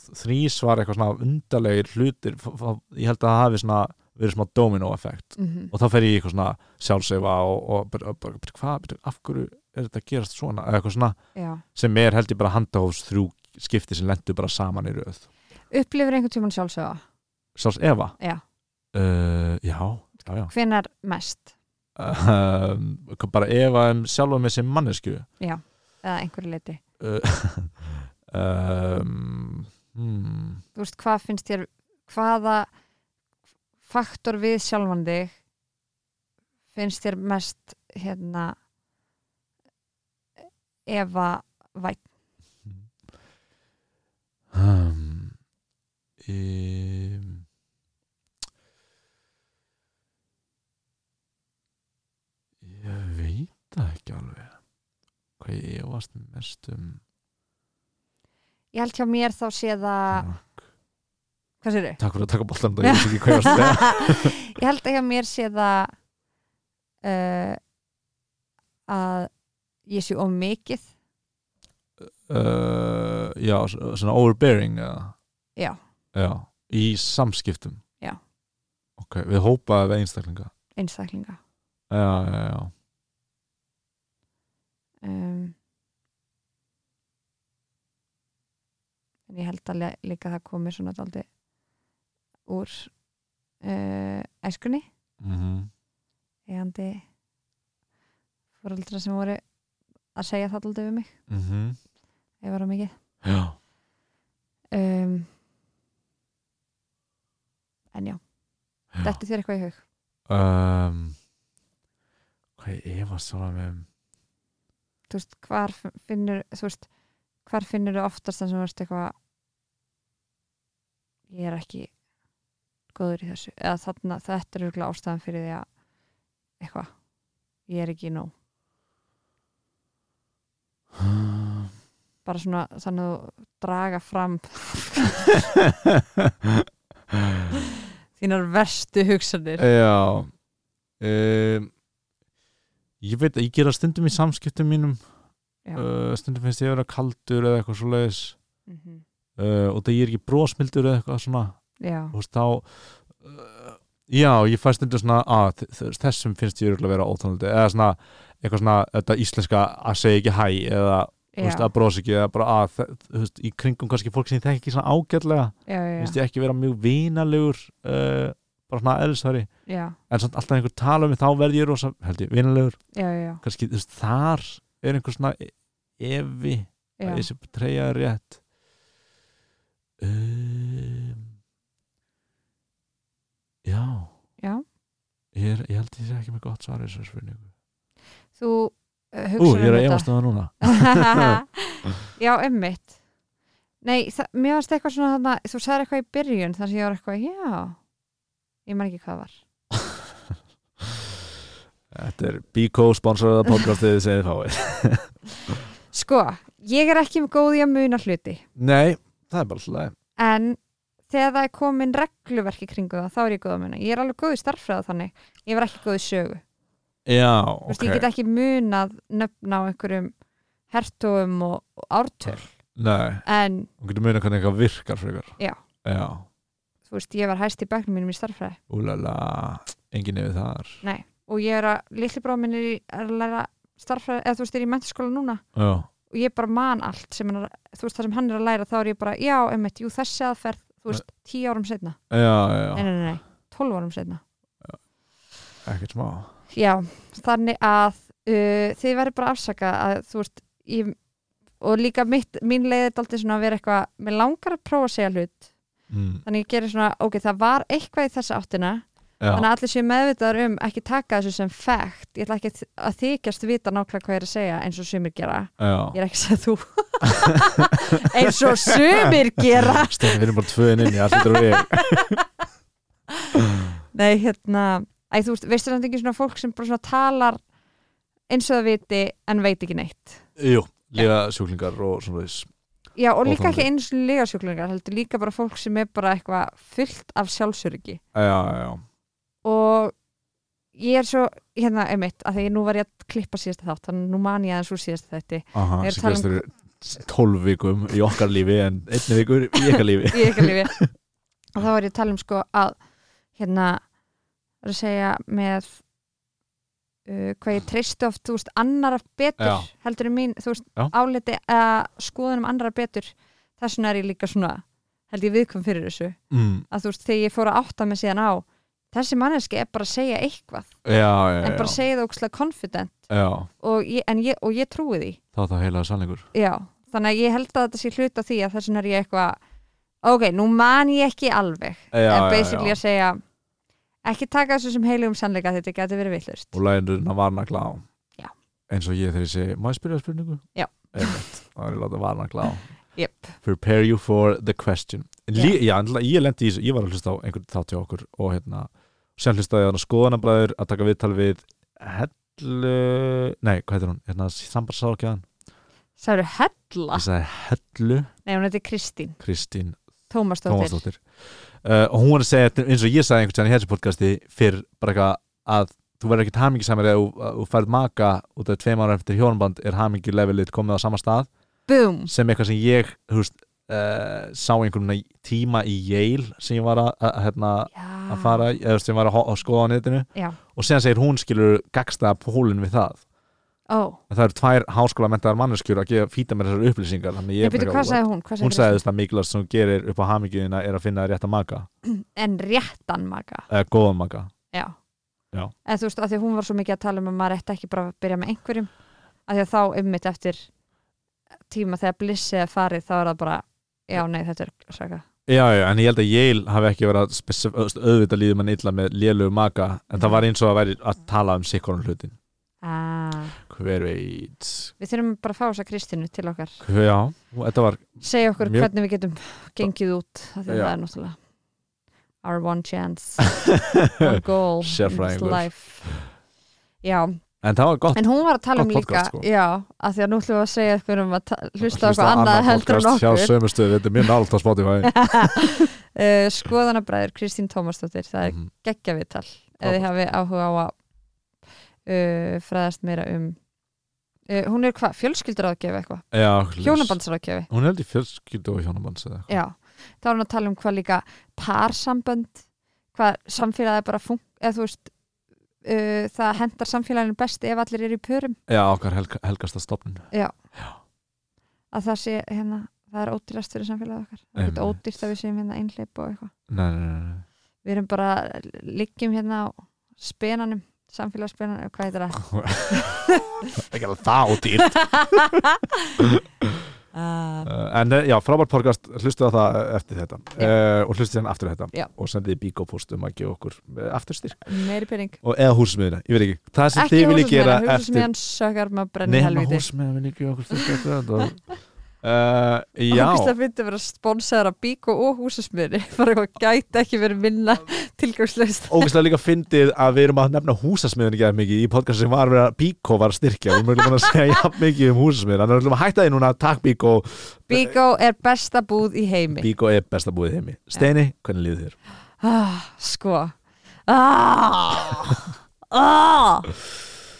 A: þrís var eitthvað svona undarlegir hlutir, f- f- ég held að það hafi svona verið smá domino effekt
B: Mm
A: og þá fer ég í eitthvað svona sjálfseifa og, og bara, bara, bara, hvað, bara, af hverju er þetta að gerast svona, eða eitthvað svona
B: já.
A: sem er held ég bara handahófs þrjú skipti sem lendu bara saman í röð
B: Upplifir einhvern tímann sjálfsöga
A: Sáls Eva?
B: Já.
A: uh, Já, já, já
B: Hvenær mest?
A: um, bara Eva um sjálfa með sem Eh, mannesku
B: Eða einhverju leiti
A: um, hmm,
B: Þú veist, hvað finnst þér hvaða faktor við sjálfan þig finnst þér mest hérna efa væt
A: um, um, Ég veit það ekki alveg hvað ég efast mest um
B: ég held hjá mér þá sé það hvað sér
A: Takk fyrir að taka boltan það, ég veist ekki hvað ég var að segja
B: ég held að hjá mér sé það uh, að ég sé of mikið
A: uh, Já, svona overbearing eða?
B: Já.
A: Já, í samskiptum
B: Já.
A: Ok, við hópaði við einstaklinga
B: einstaklinga
A: Já, já, já
B: um, en ég held að le- líka það komi svona daldi úr uh, æskunni
A: mm
B: eigandi fóröldra sem voru að segja það daldi við mig ef var á mikið
A: mhm. Já
B: um, en já,
A: Já.
B: þetta þér eitthvað í hug
A: um, Hvað ég efast svona með
B: þú veist, hvar f- finnur þú veist, hvar finnur þú oftast það sem veist eitthvað ég er ekki góður í þessu, eða þarna þetta er örgulega ástæðan fyrir því að eitthvað, ég er ekki nóg bara svona þannig að þú draga fram þínar verstu hugsanir
A: Já um, Ég veit að ég gera stundum í samskiptum mínum
B: Já.
A: uh, stundum finnst ég að vera kaldur eða eitthvað svoleiðis
B: mm
A: uh, og það ég er ekki brosmildur eða eitthvað svona
B: já,
A: þú veist þá uh, já, ég fæ stundum svona að þ- þ- þessum finnst ég örugglega að vera ótónaldi eða svona, eitthvað svona þetta íslenska að segja ekki hæ eða þú
B: já,
A: veist, að brosa ekki eða bara að þ- þú veist, í kringum kannski fólk sem ég þekki ekki svona ágætlega
B: já, já,
A: finnst ég ekki vera mjög vinalegur uh, bara svona eðlisari
B: já,
A: en samt alltaf einhver tala um mig þá verð ég rosa held ég, vinalegur,
B: já, já,
A: kannski þú veist, þar er einhver svona e- evi
B: já,
A: að
B: já.
A: ég sé treyja rétt um, já
B: já.
A: ég, er, ég held ég sé ekki með gott svar í þessu spurningu
B: þú uh,
A: ú,
B: hugsaður
A: ég er að efast um það núna
B: já, emmitt Nei, það, mér varst eitthvað svona þarna, þú sagði eitthvað í byrjun þar sem ég var eitthvað, já ég man ekki hvað það var
A: þetta er Biko sponsoraða podcastið þið segið fáið
B: Sko, ég er ekki góð í að muna hluti
A: nei, það er bara alltaf
B: en þegar það er komin regluverki kringu það, þá er ég góð að muna ég er alveg góð í starffræða þannig, ég var ekki góð í sögu
A: já,
B: Þú veist,
A: ok
B: ég get ekki munað nöfn á einhverjum hertugum og, og ártöl
A: nei,
B: en,
A: hún getur munið hvernig eitthvað virkar frekar
B: Já.
A: já,
B: þú veist, ég var hæst í bæknum mínum í starffræði
A: úlala enginn yfir þar
B: og ég er að, litli bróð minn er, í- er að læra starffræði, eða þú veist, er í mentaskóla núna
A: já,
B: og ég bara man allt sem hann, er- þú veist það sem hann er að læra þá er ég bara, já, emmitt, jú þessi aðferð þú veist, tíu árum setna,
A: já,
B: nei,
A: já,
B: nei, nei, nei, tólf árum setna
A: ekkert smá
B: já, þannig að uh, þið verður bara að afsaka að þú veist, ég og líka mitt, mín leiði þetta aldrei svona að vera eitthvað mér langar að prófa að segja hlut
A: mm,
B: þannig ég gerir svona, ok, það var eitthvað í þessa áttina,
A: já,
B: þannig að allir séu meðvitaðar um ekki taka þessu sem fact ég ætla ekki að- að þykjast vita nákvæmlega hvað ég er að segja eins og sumir gera,
A: já
B: ég er ekki að segja þú eins og sumir gera
A: Stefán, við erum bara tvöðin inn í allt þetta við
B: Nei, hérna Æ, þú veist, veistu þetta ekki svona fólk sem bara svona talar eins og það viti en veit ekki neitt
A: Jú, líða sjúklingar og svona þess
B: Já, og líka
A: Óþolandi.
B: ekki eins og lega sjúklingar heldur líka bara fólk sem er bara eitthvað fullt af sjálfsöryggi
A: Já, já, já,
B: og ég er svo, hérna, einmitt að því nú var ég að klippa síðasta þátt þannig að nú man ég aðeins úr síðasta þætti
A: aha,
B: Ég er að
A: sem
B: tala um-
A: gerst eru tólf vikum í okkar lífi en einni vikur í ykkar lífi
B: í ykkar lífi og þá var ég að tala um sko að hérna, er að segja með uh, hvað ég treysti oft, þú veist, annara betur
A: Já.
B: heldur en mín, þú veist,
A: Já.
B: áliti að skoðunum annara betur þess vegna er ég líka svona, held ég viðkvæm fyrir þessu,
A: mm,
B: að þú veist, þegar ég fór að átta mig síðan á, þessi manneski er bara að segja eitthvað,
A: Já, já,
B: en
A: já,
B: bara segja það ókslega confident
A: já
B: og ég, en ég, og ég trúi því
A: Það er það heilaða sannleikur
B: Já, þannig að ég held að þetta sé hluta því að þess vegna er ég eitthvað ok, nú man ég ekki alveg
A: Já,
B: en
A: já,
B: basically
A: já.
B: að segja ekki taka þessu sem heilugum sannleika þetta geti verið villust
A: og lægirna var nagla á
B: Já.
A: Eins og ég þegar ég segi, má ég spyrja spurningu?
B: Já.
A: Einmitt, þá er ég látið var nagla á
B: yep.
A: Prepare you for the question En Lí, já, en ég lendi í þessu, ég var að hlusta á einhvern þátt hjá okkur og hérna sem hlustaði hann skoðanabræður að taka viðtal við Hellu, nei, hvað heitir hún, hérna sambarsákjaðan
B: Særu Hella
A: ég sagði Hellu
B: Nei, hún heiti Kristín
A: Kristín
B: Tómasdóttir
A: Tómasdóttir uh, og hún var að segja, eins og ég sagði einhvern veginn í þessu podcasti fyrr bara eitthvað að þú verður ekkert hamingi samir eða þú- þú færð maka út af tveim ára eftir hjónaband er hamingi levelið komið á sama stað
B: Búm
A: sem eitthvað sem ég þú veist, uh, sá einhvern tíma í Yale sem ég var að, að, hérna,
B: Já,
A: að fara, eða sem var að, ho- að skoða á netinu
B: Já.
A: og síðan segir hún skilur gagsta pólun við það
B: ó
A: en það eru tvær háskólamentaðar manneskjur að gefa fýta með þessar upplýsingar þannig að
B: Ég
A: ég
B: byrju,
A: bara
B: hvað
A: eitthvað,
B: sagði hún? Hvað
A: what? hún sagði þess að mikilvægt sem hún gerir upp á hamingiðina er að finna rétt að maka
B: En réttan maga
A: eða góðan maka
B: Já.
A: Já.
B: En þú veist, af því að hún var svo mikið að tala um að maður ætti ekki bara að byrja með einhverjum af því að þá einmitt eftir tíma þegar blissið er farið þá er það bara, já nei þetta er svaka
A: já, já, en ég held að Yale hafi ekki verið að spesif- öðvist- auðvitað líður mann illa með lélögu maka en það var eins og að væri að tala um sikkoran hlutin
B: ah,
A: hver veit
B: Við þurfum bara að fá þessa Kristínu til okkar
A: hver, já, þetta var
B: segja okkur
A: Mjög-
B: hvernig við getum gengið út af því að
A: Já.
B: það er náttúrulega our one chance our goal in this
A: Sérfræðingur.
B: life já,
A: en það var gott
B: en hún var að tala um
A: Gott
B: líka
A: podcast, sko.
B: já, af því að nú ætlum við að segja eitthvað um að ta- hlusta á
A: Hlusta
B: eitthvað annað
A: annan
B: heldur en
A: podcast hjá
B: okkur
A: sömu stöðu, þetta er mjög nált á Spotify
B: uh, skoðanabræður Kristín Tómasdóttir það er
A: Mhm.
B: geggja viðtal ef þið
A: Frábært.
B: hafi áhuga á að uh, fræðast meira um uh, hún er hvað, fjölskylduráðgefi eitthvað
A: Já, hlust.
B: hjónabandsráðgefi
A: hún held í fjölskyldu og hjónabands eða eitthvað.
B: Já, þá er hann að tala um hvað líka parsambönd, hvað samfélagið er bara fung, eða þú veist uh, það hendar samfélaginu best ef allir eru í pörum,
A: já, okkar helga, helgasta stopn
B: að það sé hérna, það er ódýrast fyrir samfélagið okkar það er ekkert
A: Einmitt.
B: ódýrt að við séum hérna einhleip og eitthvað
A: nei, nei, nei, nei.
B: við erum bara, liggjum hérna á spenanum, samfélagspenanum hvað heitir það?
A: ekki alveg það út í uh,
B: Uh,
A: en eh, já, frábært podcast, hlustu á það eh, eftir þetta
B: Já.
A: uh, og hlustu hérna aftur á þetta
B: Já.
A: og sendið bíkópúst um að gefa okkur eh, aftur styrk
B: meiri pening
A: og eða húsmiðina, ég veit ekki það sem
B: ekki
A: þið viljið gera
B: húsasmiðan,
A: eftir
B: húsasmiðan sökkar maður brennir
A: nema
B: helviti
A: húsmiðina viljið gefa okkur styrk eftir þetta uh,
B: Já. Og
A: já,
B: það finnst að vera sponsaður af Bíko og húsasmiðinni bara eitthvað gæti ekki verið minna tilgangslöst
A: ógæslega líka fyndið að við erum að nefna húsasmiðin ekki að mikið í podcast sem var verið að Bíkó var að styrkja við mögum að segja jafn mikið um húsasmiðin þannig að við ætlum að hætta því núna, takk Bíkó
B: Bíkó er besta búð í heimi
A: Bíkó er besta búið heimi Steini, hvernig líður þér?
B: ah, Sko ah, ah.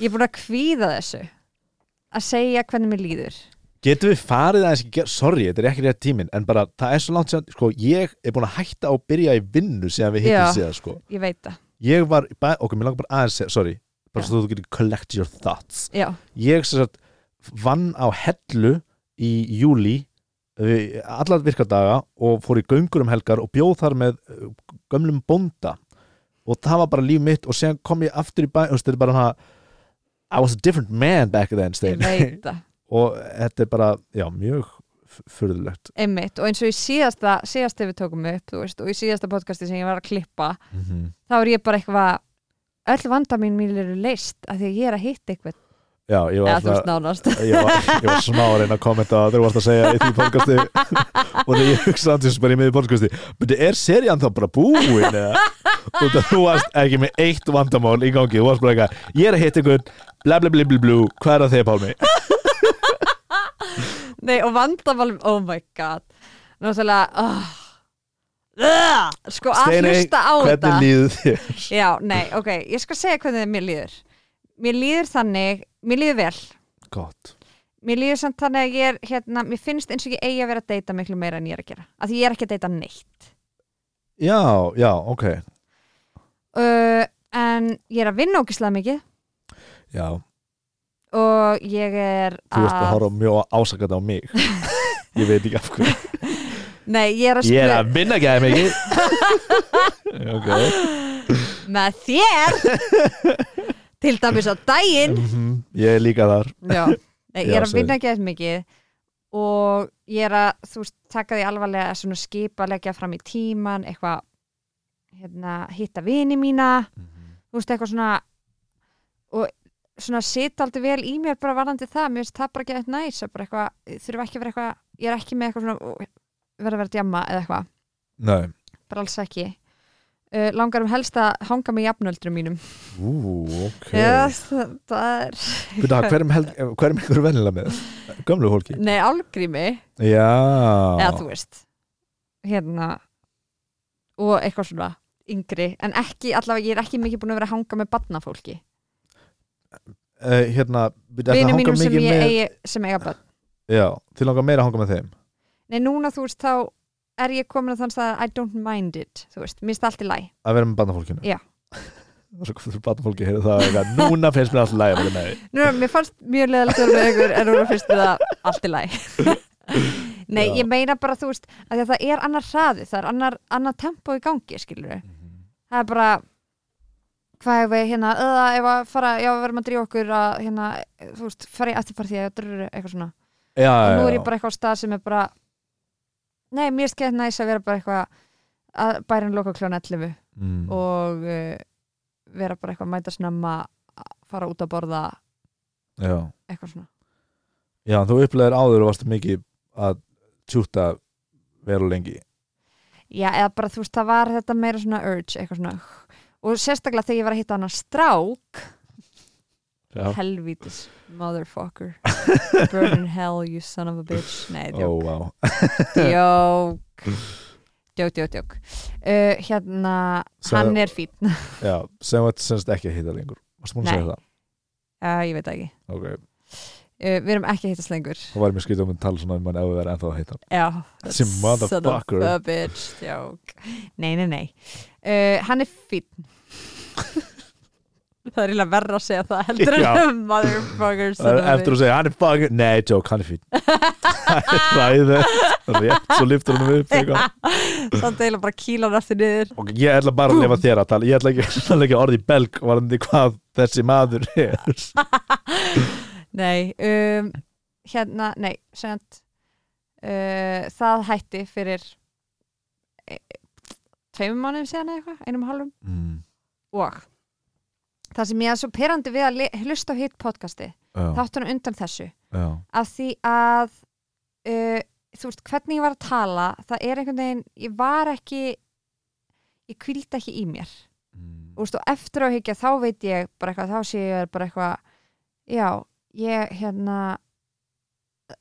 B: Ég er búin að kvíða þessu að segja hvernig mér líður
A: Getum við farið aðeins, í ger- sorry, þetta er ekki rétt tíminn en bara, það er svo langt sér, sko, ég er búin að hætta að byrja í vinnu síðan við hittum
B: Já.
A: síðan, sko
B: Ég veit það
A: ég var, bæ, ok, mér langar bara aðeins, að segja- sorry bara
B: Já.
A: svo þú getur collect your thoughts
B: Já,
A: ég sem sagt vann á hellu í júli eh, alla virkadaga og fór í göngur um helgar og bjóð þar með eh, gömlum bónda og það var bara líf mitt og síðan kom ég aftur í bæ og þetta er bara hana I was a different man back then
B: ég
A: Stein.
B: veit það
A: og þetta er bara, já, mjög f- furðulegt
B: Einmitt, og eins og í síðasta, síðasta við tókum upp, þú veist, og í síðasta podcasti sem ég var að klippa,
A: mm -hmm.
B: þá er ég bara eitthvað öll vanda mín mín eru leist af því að ég er að hitta eitthvað
A: já, ég var
B: eða þú
A: alltaf
B: veist nánast
A: ég var, ég var smá að reyna að kommenta að þú varst að segja í því podcasti og þegar ég hugsa andins bara í miður podcasti beti, er serían þá bara búin eða? og það þú varst ekki með eitt vandamál í gangi, þú varst bara eitthvað ég er að hitta ykkur, bla bla bla bla bla hvað er að þeir Pálmi?
B: Nei, og vandamál, oh my god Náttúrulega oh. uh, Sko að hlusta á þetta
A: hvernig líður þér?
B: Já, nei, ok, ég skal segja hvernig mér líður Mér líður þannig, mér líður vel
A: Gott,
B: Mér líður samt þannig að ég er, hérna Mér finnst eins og ég eigi að vera að deyta miklu meira en ég er að gera Af því ég er ekki að deyta neitt
A: já, já, ok
B: uh, En ég er að vinna ógislega mikið
A: já,
B: Og ég er
A: þú ert
B: Ah.
A: að horfa mjög ásakað á mig ég veit ekki af hverju
B: Nei, ég er að
A: ég er
B: spila
A: að vinna ekki að mikið ok
B: með þér Til dæmis á daginn
A: Mhm, ég er líka þar
B: Já, Nei, ég
A: Já,
B: er að
A: sorry.
B: vinna ekki eða mikið og ég er að þú veist, taka því alvarlega að svona skipa leggja fram í tíman, eitthvað hérna, hitta vini mína
A: Mhm.
B: þú veist, eitthvað svona og svona sita aldrei vel í mér bara varðandi það, mér finnst það bara ekki eitthvað næs að bara eitthvað, þurfa ekki að vera eitthvað ég er ekki með eitthvað svona verða að vera djamma eða eitthvað
A: nei
B: bara alls ekki uh, langar um helst að hanga með jafnöldrum mínum
A: Ú, ok
B: Já, það, það er
A: Byrna, hverjum, hel, hverjum ykkur er venilega með? Gömlu hólki?
B: Nei, álgrími,
A: Já
B: eða þú veist hérna og eitthvað svona yngri, en ekki allavega, ég er ekki mikið búin að vera að hanga með badnafólki,
A: Eh, Hérna, byrna,
B: vinum mínum sem ég
A: með,
B: eigi sem eiga badn.
A: Já, þið langar meira að hanga með þeim
B: Nei, núna þú veist, þá er ég komin að þann stað að I don't mind it, þú veist, mér stað allt í læ
A: Að vera með barnafólkinu
B: Já.
A: Og svo komður barnafólki að heyra það eitthvað, Núna finnst mér alltaf læg að vera með því
B: Nú, mér fannst mjög leðalegt að vera með ykkur en núna finnst mér það allt í læ Nei,
A: Já.
B: ég meina bara, þú veist, af því að það er annar hraði, það er annar, annar tempo í gangi, skilur
A: Mhm.
B: það er bara hvað hefur við hérna, eða ef að fara já, við verðum að drífa okkur að hérna þú veist, fara í afturpartíða og drurru eitthvað svona
A: Já,
B: og nú
A: já,
B: er
A: já
B: ég bara eitthvað á stað sem er bara nei, mér skeitt næs að vera bara eitthvað að bærin loka kljóna 11
A: Mm.
B: og uh, vera bara eitthvað að mæta snemma að fara út að borða
A: Já,
B: eitthvað svona
A: já en þú upplegaðir áður og varst mikið að tjúta vel og lengi
B: já, eða bara þú veist, það var þetta meira svona urge eitthvað svona og sérstaklega þegar ég var að hitta hana strák
A: Já
B: helvítis motherfucker burn in hell you son of a bitch nei, djók,
A: Ó, vá
B: djók djók, djók, djók uh, hérna,
A: Sagði-
B: hann er fín uh,
A: Já, sem þetta semst ekki að hitta lengur Varst múin að
B: Nei.
A: segja það?
B: ég veit það ekki,
A: Ok,
B: uh, við erum ekki að hittast lengur
A: þá var mér skrítið um að tala svona um hann ef við verðum ennþá að hitta hann.
B: já,
A: Þessi
B: son
A: motherfucker.
B: of a bitch djók, nei, nei, nei uh, hann er fín það er eiginlega verra að segja það heldur
A: Já.
B: en motherfucker son
A: Það
B: of
A: er
B: a
A: Eftir að segja, hann er fucking Nei, joke, hann er fín Það er ræðið Rétt, svo liftur hann upp eitthvað.
B: bitch samt eiginlega bara kílan eftir niður
A: Ok, ég ætla bara að lifa þér að tala Ég ætla ekki, ætla ekki orðið í belg varandi hvað þessi maður er
B: Nei, um, hérna, nei, segjant uh, það hætti fyrir e, tveimum mánuðum síðan eða eitthvað, einum og hálfum
A: mm,
B: og það sem ég er svo perandi við að li- hlusta á hitt podcasti,
A: Já,
B: þáttunum undan þessu
A: já,
B: af því að uh, þú veist, hvernig ég var að tala það er einhvern veginn, ég var ekki ég kvildi ekki í mér
A: mm,
B: Þú veist, og eftir á higgja þá veit ég bara eitthvað, þá sé ég bara eitthvað já, ég hérna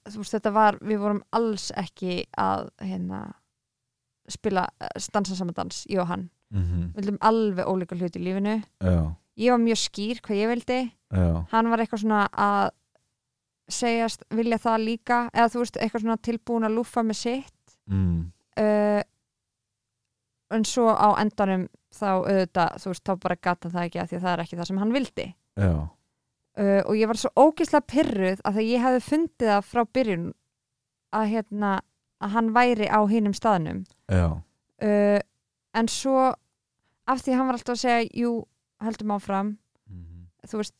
B: þú veist þetta var við vorum alls ekki að hérna spila, eh, dansa saman dans ég og hann,
A: mhm,
B: við vildum alveg ólíka hluti í lífinu,
A: Já,
B: ég var mjög skýr hvað ég vildi,
A: já
B: hann var eitthvað svona að segjast vilja það líka, eða þú veist eitthvað svona tilbúin að lúfa með sitt
A: mm,
B: uh, en svo á endanum þá auðvitað, þú veist, þá bara gata það ekki af því að það er ekki það sem hann vildi
A: Já,
B: uh, og ég var svo ógeðslega pyrruð að því ég hefði fundið það frá byrjun að hérna að hann væri á hinum staðnum
A: já,
B: uh, en svo af því að hann var alltaf að segja jú, heldum áfram
A: mhm,
B: þú veist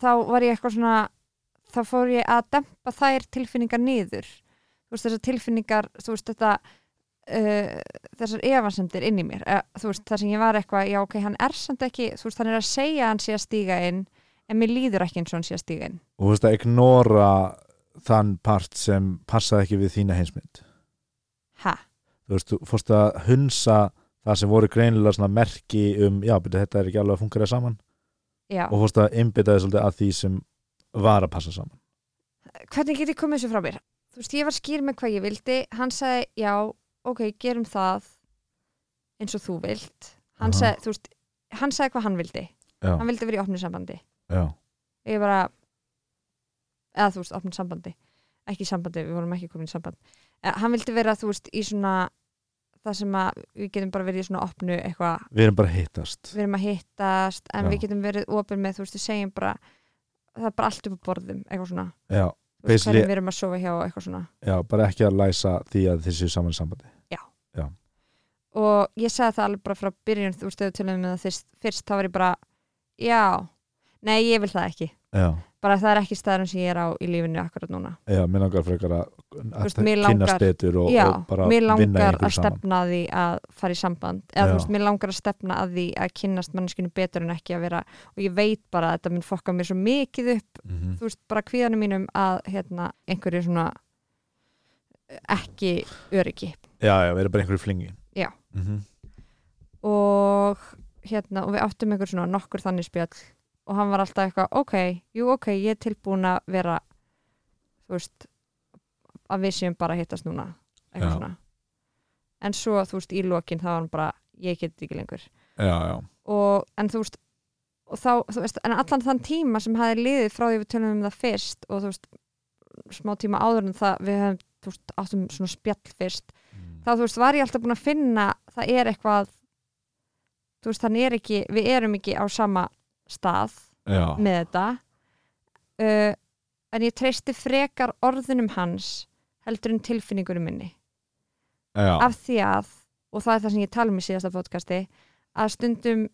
B: þá var ég eitthvað svona þá fór ég að dempa þær tilfinningar niður þú veist þessar tilfinningar þú veist þetta uh, þessar efasendir inn í mér e, þú veist þar sem ég var eitthvað, já ok hann er samt ekki, þú veist hann er að segja að hann sé að stíga inn en mér líður ekki eins og hann sé að stíga inn
A: Og þú veist að ignora þann part sem passaði ekki við þína heimsmynd
B: ha,
A: þú veist, þú fórst að hunsa það sem voru greinilega svona merki um já, beti, þetta er ekki alveg að fungera saman
B: já,
A: og fórst að einbytta þið svolítið að því sem var að passa saman
B: hvernig get ég komið þessu frá mér þú veist ég var skýr með hvað ég vildi hann sagði, já, ok, gerum það eins og þú vilt hann
A: Aha.
B: sagði, þú veist, hann sagði hvað hann vildi
A: já,
B: hann vildi vera í opnu sambandi
A: já,
B: ég bara eða þú veist, opnum sambandi ekki sambandi, við vorum ekki komin í samband Eh, hann vildi vera, þú veist, í svona það sem að við getum bara verið í svona opnu eitthvað,
A: við erum bara að hittast
B: við erum að hittast en
A: Já.
B: við getum verið opin með, þú veist, við segjum bara það er bara allt upp á borðum, eitthvað svona
A: já,
B: Þú veist,
A: Basically-
B: hvernig við erum að sofa hjá, og eitthvað svona
A: já, bara ekki að læsa því að þið séu saman í sambandi
B: og ég sagði það alveg bara frá byrjun þú veist, þau tölum með það fyrst, fyrst þá var ég bara, já nei, ég vil það ekki,
A: já,
B: bara það er ekki staðurinn sem ég er á í lífinu akkurat núna
A: já, mér langar frekar að, að
B: veist, mér langar-
A: kynast betur og,
B: já,
A: og bara
B: mér
A: vinna
B: langar
A: einhverju
B: að
A: saman
B: stefna að því að fara í samband eða
A: Já.
B: þú veist, mér langar að stefna að því að kynnast manneskinu betur en ekki að vera og ég veit bara að þetta mun fokka mér svo mikið upp
A: mm -hmm.
B: þú veist, bara kvíðanum mínum að hérna, einhverju svona eh, ekki öryggi
A: já, já, við erum bara einhverju flingi
B: Já.
A: Mhm.
B: og hérna og við áttum ykkur svona nokkur þannig spjall og hann var alltaf eitthvað ok, jú ok, ég er tilbúin að vera þú veist að við séum bara að hittast núna eitthvað
A: Já.
B: svona en svo þú veist í lokin þá var hann bara ég get þetta ekki lengur
A: já, já,
B: og en þú veist og þá, þú veist, en allan þann tíma sem hafi liðið frá því við tölum um það fyrst og þú veist, smá tíma áður en það við hefum, þú veist, áttum svona spjall fyrst
A: Mm.
B: þá þú veist var ég alltaf búin að finna það er eitthvað þú veist þannig er ekki, við erum ekki á sama stað
A: já,
B: með þetta uh, en ég treysti frekar orðunum hans heldur en tilfinningunum minni
A: já,
B: af því að, og það er það sem ég tala um í síðasta podcasti, að stundum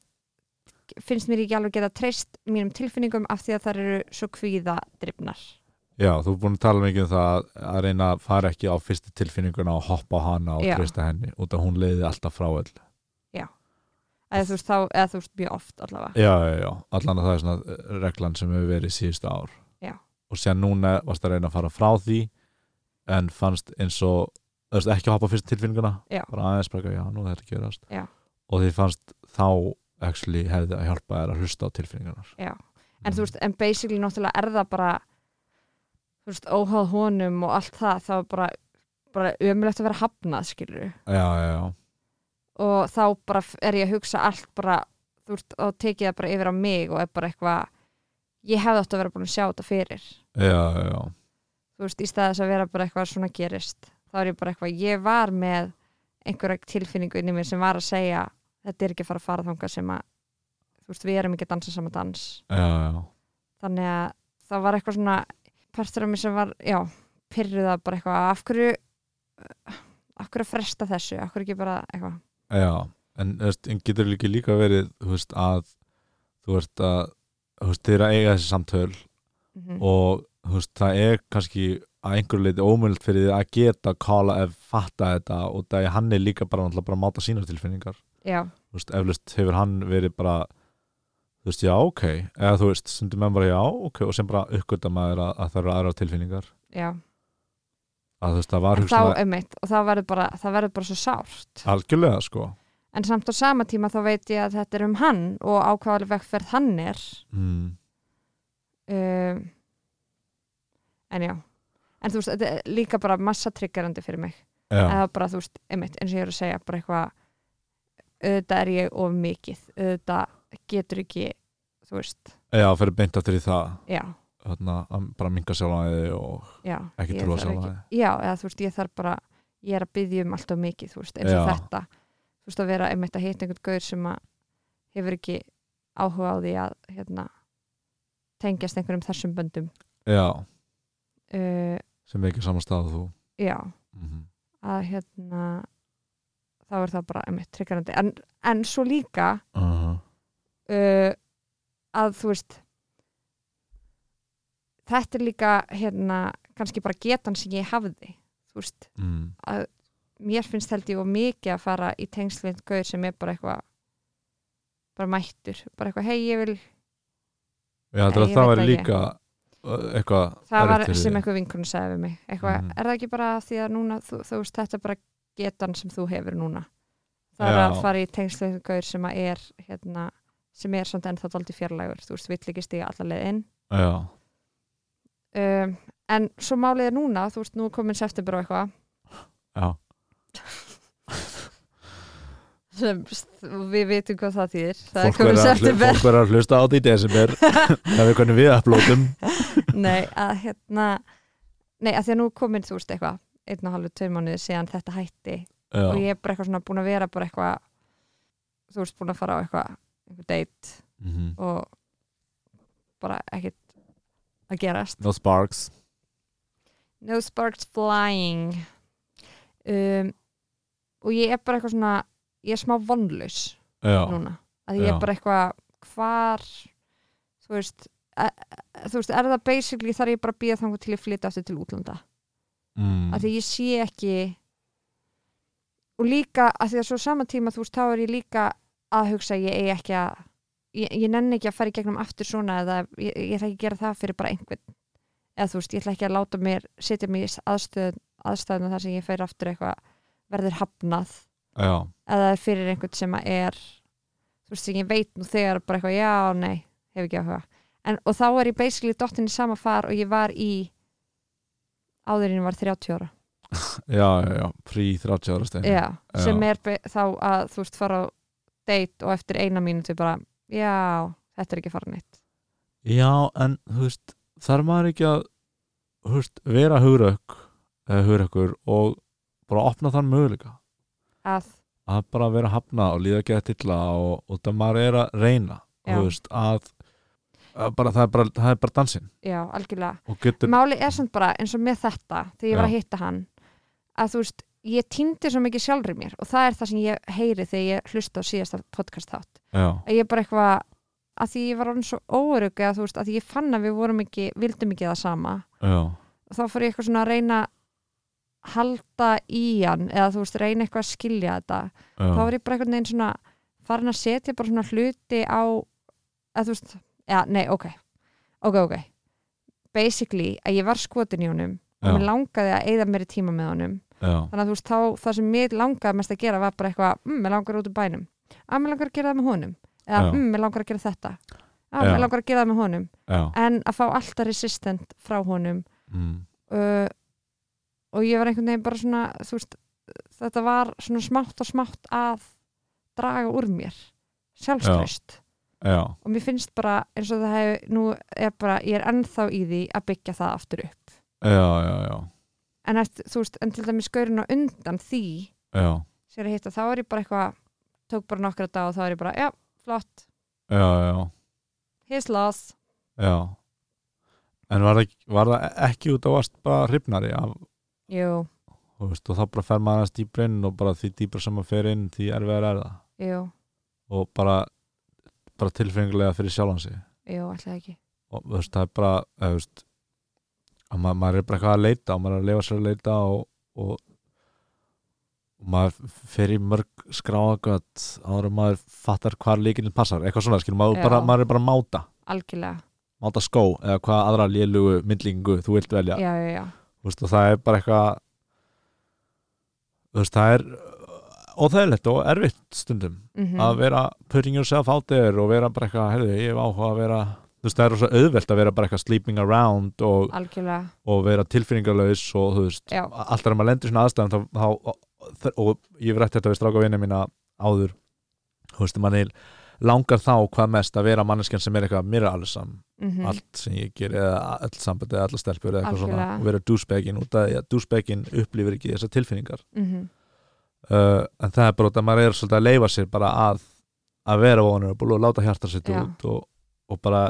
B: finnst mér ekki alveg geta treyst mínum tilfinningum af því að það eru svo kvíða drifnar
A: já, þú er búin að tala mikið um það að reyna að fara ekki á fyrstu tilfinninguna og hoppa á hana og
B: Já.
A: treysta henni út að hún leiði alltaf frá öll
B: eða þú veist þá, eða þú veist mjög oft allavega
A: já, já, já, allan að það er svona eh, reglan sem hefur verið síðustu ár
B: Já.
A: og sér núna varst að reyna að fara frá því en fannst eins og þú veist, ekki að hoppa á fyrstu tilfinninguna
B: Já.
A: bara aðeins bara, já, nú er þetta að gerast
B: Já.
A: og því fannst þá actually hefði að hjálpa þér að hlusta á tilfinningunar
B: Já. en þú veist, en basically náttúrulega er það bara þú veist, óháð honum og allt það, það var bara bara ömulegt að vera hafnað, skilur
A: já, já, já,
B: og þá bara f- er ég að hugsa allt bara, þú veist, og tekið það bara yfir á mig og er bara eitthvað ég hefði átt að vera búin að sjá þetta fyrir
A: já, já, já.
B: þú veist, í stað þess að vera bara eitthvað svona gerist þá er ég bara eitthvað, ég var með einhverja tilfinningu inn í mér sem var að segja þetta er ekki að fara að fara þangað sem að þú veist, við erum ekki að dansa saman dans
A: já, já.
B: þannig að það var eitthvað svona partur af mér sem var, já, pyrruða bara eitthvað, af hverju eh, af hverju að fresta þessu, af hverju ekki bara eitthvað,
A: Já, en, þú veist, en getur líka líka verið þú veist, að þú ert að þú veist, þið er að eiga þessi samtöl
B: mm
A: og þú veist, það er kannski að einhverju leiti ómöld fyrir því að geta kála ef fatta þetta og það er hann er líka bara, náttúrulega bara að máta sínar tilfinningar
B: já,
A: þú veist, eflust hefur hann verið bara þú veist, já, ok eða þú veist, stundum menn bara, já, ok og sem bara uppgöta maður að, að það eru aðra tilfinningar
B: já
A: að þú veist, það var
B: en þá
A: hugsanlega
B: einmitt, og það verður bara það verður bara svo sárt,
A: algjörlega, sko
B: en samt á sama tíma þá veit ég að þetta er um hann og ákvæðaleg vegferð hann er
A: mm.
B: um, en já en þú veist, þetta er líka bara massa triggerandi fyrir mig
A: Já,
B: eða bara þú veist, einmitt, eins og ég er að segja bara eitthvað, auðvitað er ég of mikið, auðvitað getur ekki þú veist,
A: já, fyrir beint aftur í það
B: já,
A: þarna, hérna, að bara minga sjálfæði og
B: já
A: ekki
B: ég
A: trúa
B: þarf
A: sjálfa
B: ekki- já, eða þú veist, ég þarf bara ég er að byggja um alltaf mikið, þú veist, eins og
A: Já.
B: þetta þú veist, að vera einmitt að hitta einhvern gaur sem að hefur ekki áhuga á því að hérna, tengjast einhverjum þessum böndum
A: þig já,
B: uh,
A: sem er ekki á sama stað og þú
B: já,
A: mm -hmm.
B: að hérna þá er það bara einmitt tryggarandi en, en svo líka
A: uh -huh.
B: uh, að þú veist þetta er líka hérna, kannski bara getan sem ég hafði þú veist,
A: mm.
B: mér finnst held ég og mikið að fara í tengslinn gauður sem er bara eitthvað bara mættur, bara eitthvað hei ég vil,
A: já,
B: Nei,
A: það,
B: ég
A: það
B: veit
A: var
B: það
A: líka uh, eitthvað
B: það var
A: erfitt fyrir
B: sem
A: þig.
B: eitthvað vinkunum sagði við mig, eitthvað,
A: Mhm.
B: er það ekki bara því að núna, þú, þú veist, þetta er bara getan sem þú hefur núna það er
A: Já.
B: að fara í tengslinn gauður sem að er hérna, sem er samt ennþá daldi fjarlægur, þú veist, vill ekki stiga allar leið inn
A: já,
B: um, en svo málið er núna þú veist, nú er komin september og eitthvað
A: já,
B: sem við vitum hvað það þýðir það
A: fólk
B: er komin
A: verður að hlu-
B: september
A: fólk verður að hlusta á því í desember það er hvernig við upplótum
B: nei, að hérna nei, að því að nú er komin, þú veist, eitthvað einn og halvu, tveir mánuði síðan þetta hætti
A: já,
B: og ég er bara eitthvað svona búin að vera bara eitthvað þú veist, búin að fara á eitthvað einhver date
A: Mhm.
B: og bara ekkert að gerast
A: no sparks
B: No sparks flying um, og ég er bara eitthvað svona ég er smá vonlaus
A: já,
B: núna að ég
A: Já.
B: er bara eitthvað hvar þú veist, e, e- þú veist er það basically þar ég bara að býða þangu til ég flytja aftur til útlanda
A: mm.
B: að því ég sé ekki og líka að því að svo sama tíma þú veist þá er ég líka að hugsa að ég eigi ekki að ég, ég nenni ekki að fara í gegnum aftur svona eða ég, ég ætla ekki að gera það fyrir bara einhvern eða þú veist ég ætla ekki að láta mér setja mig í aðstöð, aðstæðna þar sem ég fer aftur eitthvað verður hafnað
A: já,
B: að það er fyrir einhvern sem að er þú veist ekki, ég veit nú þegar bara eitthvað, já, nei, hef ekki áhuga en, og þá er ég basically dottin í sama far og ég var í áðurinn var 30 ára
A: já, já, já frí 30 ára stein
B: já, sem er be- þá að þú veist fara á date og eftir eina mínútu bara, já, þetta er ekki að fara neitt
A: Já, en þú veist, þarf maður ekki að þú veist, vera hugrauk eða hugraukur og bara opna þann möguleika
B: að,
A: að bara vera hafna og líða ekki að tilla og, og það maður er að reyna
B: Já.
A: þú veist, að, að bara, það, er bara, það er bara dansinn
B: já, algjörlega
A: og getur
B: máli er samt bara eins og með þetta þegar ég var að hitta hann að þú veist, ég týndi svo mikið sjálfri mér og það er það sem ég heyri þegar ég hlusta á síðasta podcast þátt
A: já,
B: að ég bara eitthvað að því ég var orðin svo óörug eða þú veist að ég fann að við vorum ekki, vildum ekki það sama
A: já,
B: og þá fór ég eitthvað svona að reyna að halda í hann eða þú veist reyna eitthvað að skilja þetta
A: já,
B: þá var ég bara eitthvað neginn svona farin að setja bara svona hluti á að þú veist, já nei ok ok ok basically að ég var skotin í honum og mér
A: já,
B: langaði að eyða meiri tíma með honum
A: já,
B: þannig að þú veist þá það sem mér langaði mest að gera var bara eitthvað, mm, mér langar út úr bænum að mér langar að gera það með honum eða
A: Já.
B: mm, mér langar að gera þetta að
A: Já.
B: mér langar að gera það með honum
A: já,
B: en að fá alltaf resistent frá honum
A: mm,
B: uh, og ég var einhvern veginn bara svona þú veist, þetta var svona smátt og smátt að draga úr mér sjálfströst
A: já,
B: og mér finnst bara eins og það hefur nú er bara, ég er ennþá í því að byggja það aftur upp
A: já, já, já,
B: en, eftir, þú veist, en til dæmis gaurin á undan því
A: já,
B: sér að hitta, þá er ég bara eitthvað tók bara nokkra dag og þá er ég bara, já, flott
A: já, já,
B: his loss,
A: já. En var það, ekki- var það ekki út á vast bara hrifnari af,
B: jú,
A: og, veist, og þá bara fer maður aðeins dýpra inn og bara því dýpra sem maður fer inn því erfiðar er það
B: jú,
A: og bara, bara tilfengilega fyrir sjálfan sig
B: jú, alltaf ekki
A: og þú veist, það er bara eða, þú veist, að maður, maður er bara eitthvað að leita og maður er að leifa sér að leita og, og, og maður fer í mörg skráðagöt áður en maður fattar hvar líkinin passar eitthvað svona, skilur, maður,
B: Já.
A: bara, maður er bara að máta
B: algjörlega,
A: máta skó eða hvaða aðra lélugu myndlingu þú vilt velja
B: já, já, já,
A: Þú veist, og það er bara eitthvað þú veist, það er óþægilegt og erfitt stundum
B: mhm,
A: að vera putting yourself out there og vera bara eitthvað, heyrðu, ég hef áhuga að vera þú veist, það er svo auðvelt að vera bara eitthvað sleeping around og,
B: algjörlega
A: og vera tilfinningarlaus og þú veist,
B: Já.
A: alltaf er maður lendur svona aðstæðan þá, þá, og, og ég hef rætt þetta við stráka vinni mína áður þú veist, manni langar þá hvað mest að vera manneskjan sem er eitthvað mér er alveg saman
B: mhm,
A: allt sem ég ger eða öll sambandi eða alla stelpur eða eitthvað svona
B: Algjörlega.
A: og vera dúsbegin út af því að dúsbegin upplifir ekki þessar tilfinningar
B: mhm,
A: uh, en það er bara út að maður er svolítið að leifa sér bara að, að vera vonur og láta hjarta sitt
B: Já.
A: út og, og bara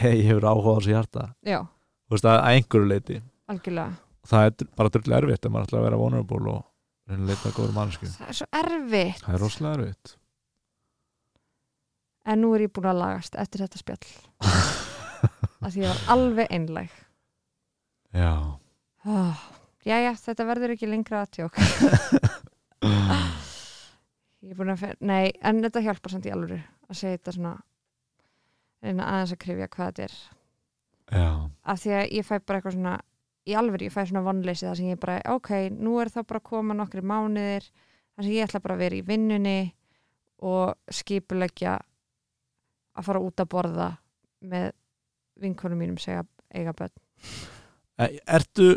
A: hei, ég hefur áhuga á þessu hjarta
B: já,
A: þú veist að, að einhverju leiti
B: algjörlega
A: það er dr- bara drullu erfitt ef maður ætlar að vera vonur og reyna að leita að góður mannsku
B: það er svo erfitt
A: það er rosalega erfitt
B: en nú er ég búin að lagast eftir þetta spjall að því ég var alveg einlæg
A: já
B: oh, já, já, þetta verður ekki lengra að tjók ég er búin að fer, nei, en þetta hjálpar samt í alvöru að segja þetta svona reyna aðeins að krifja hvað þetta er
A: já,
B: af því að ég fæ bara eitthvað svona í alvöru, ég fæ svona vonleysi það sem ég bara ok, nú er þá bara að koma nokkri mánuðir þannig að ég ætla bara að vera í vinnunni og skipulegja að fara út að borða með vinkonum mínum segja eiga börn
A: E- Ertu,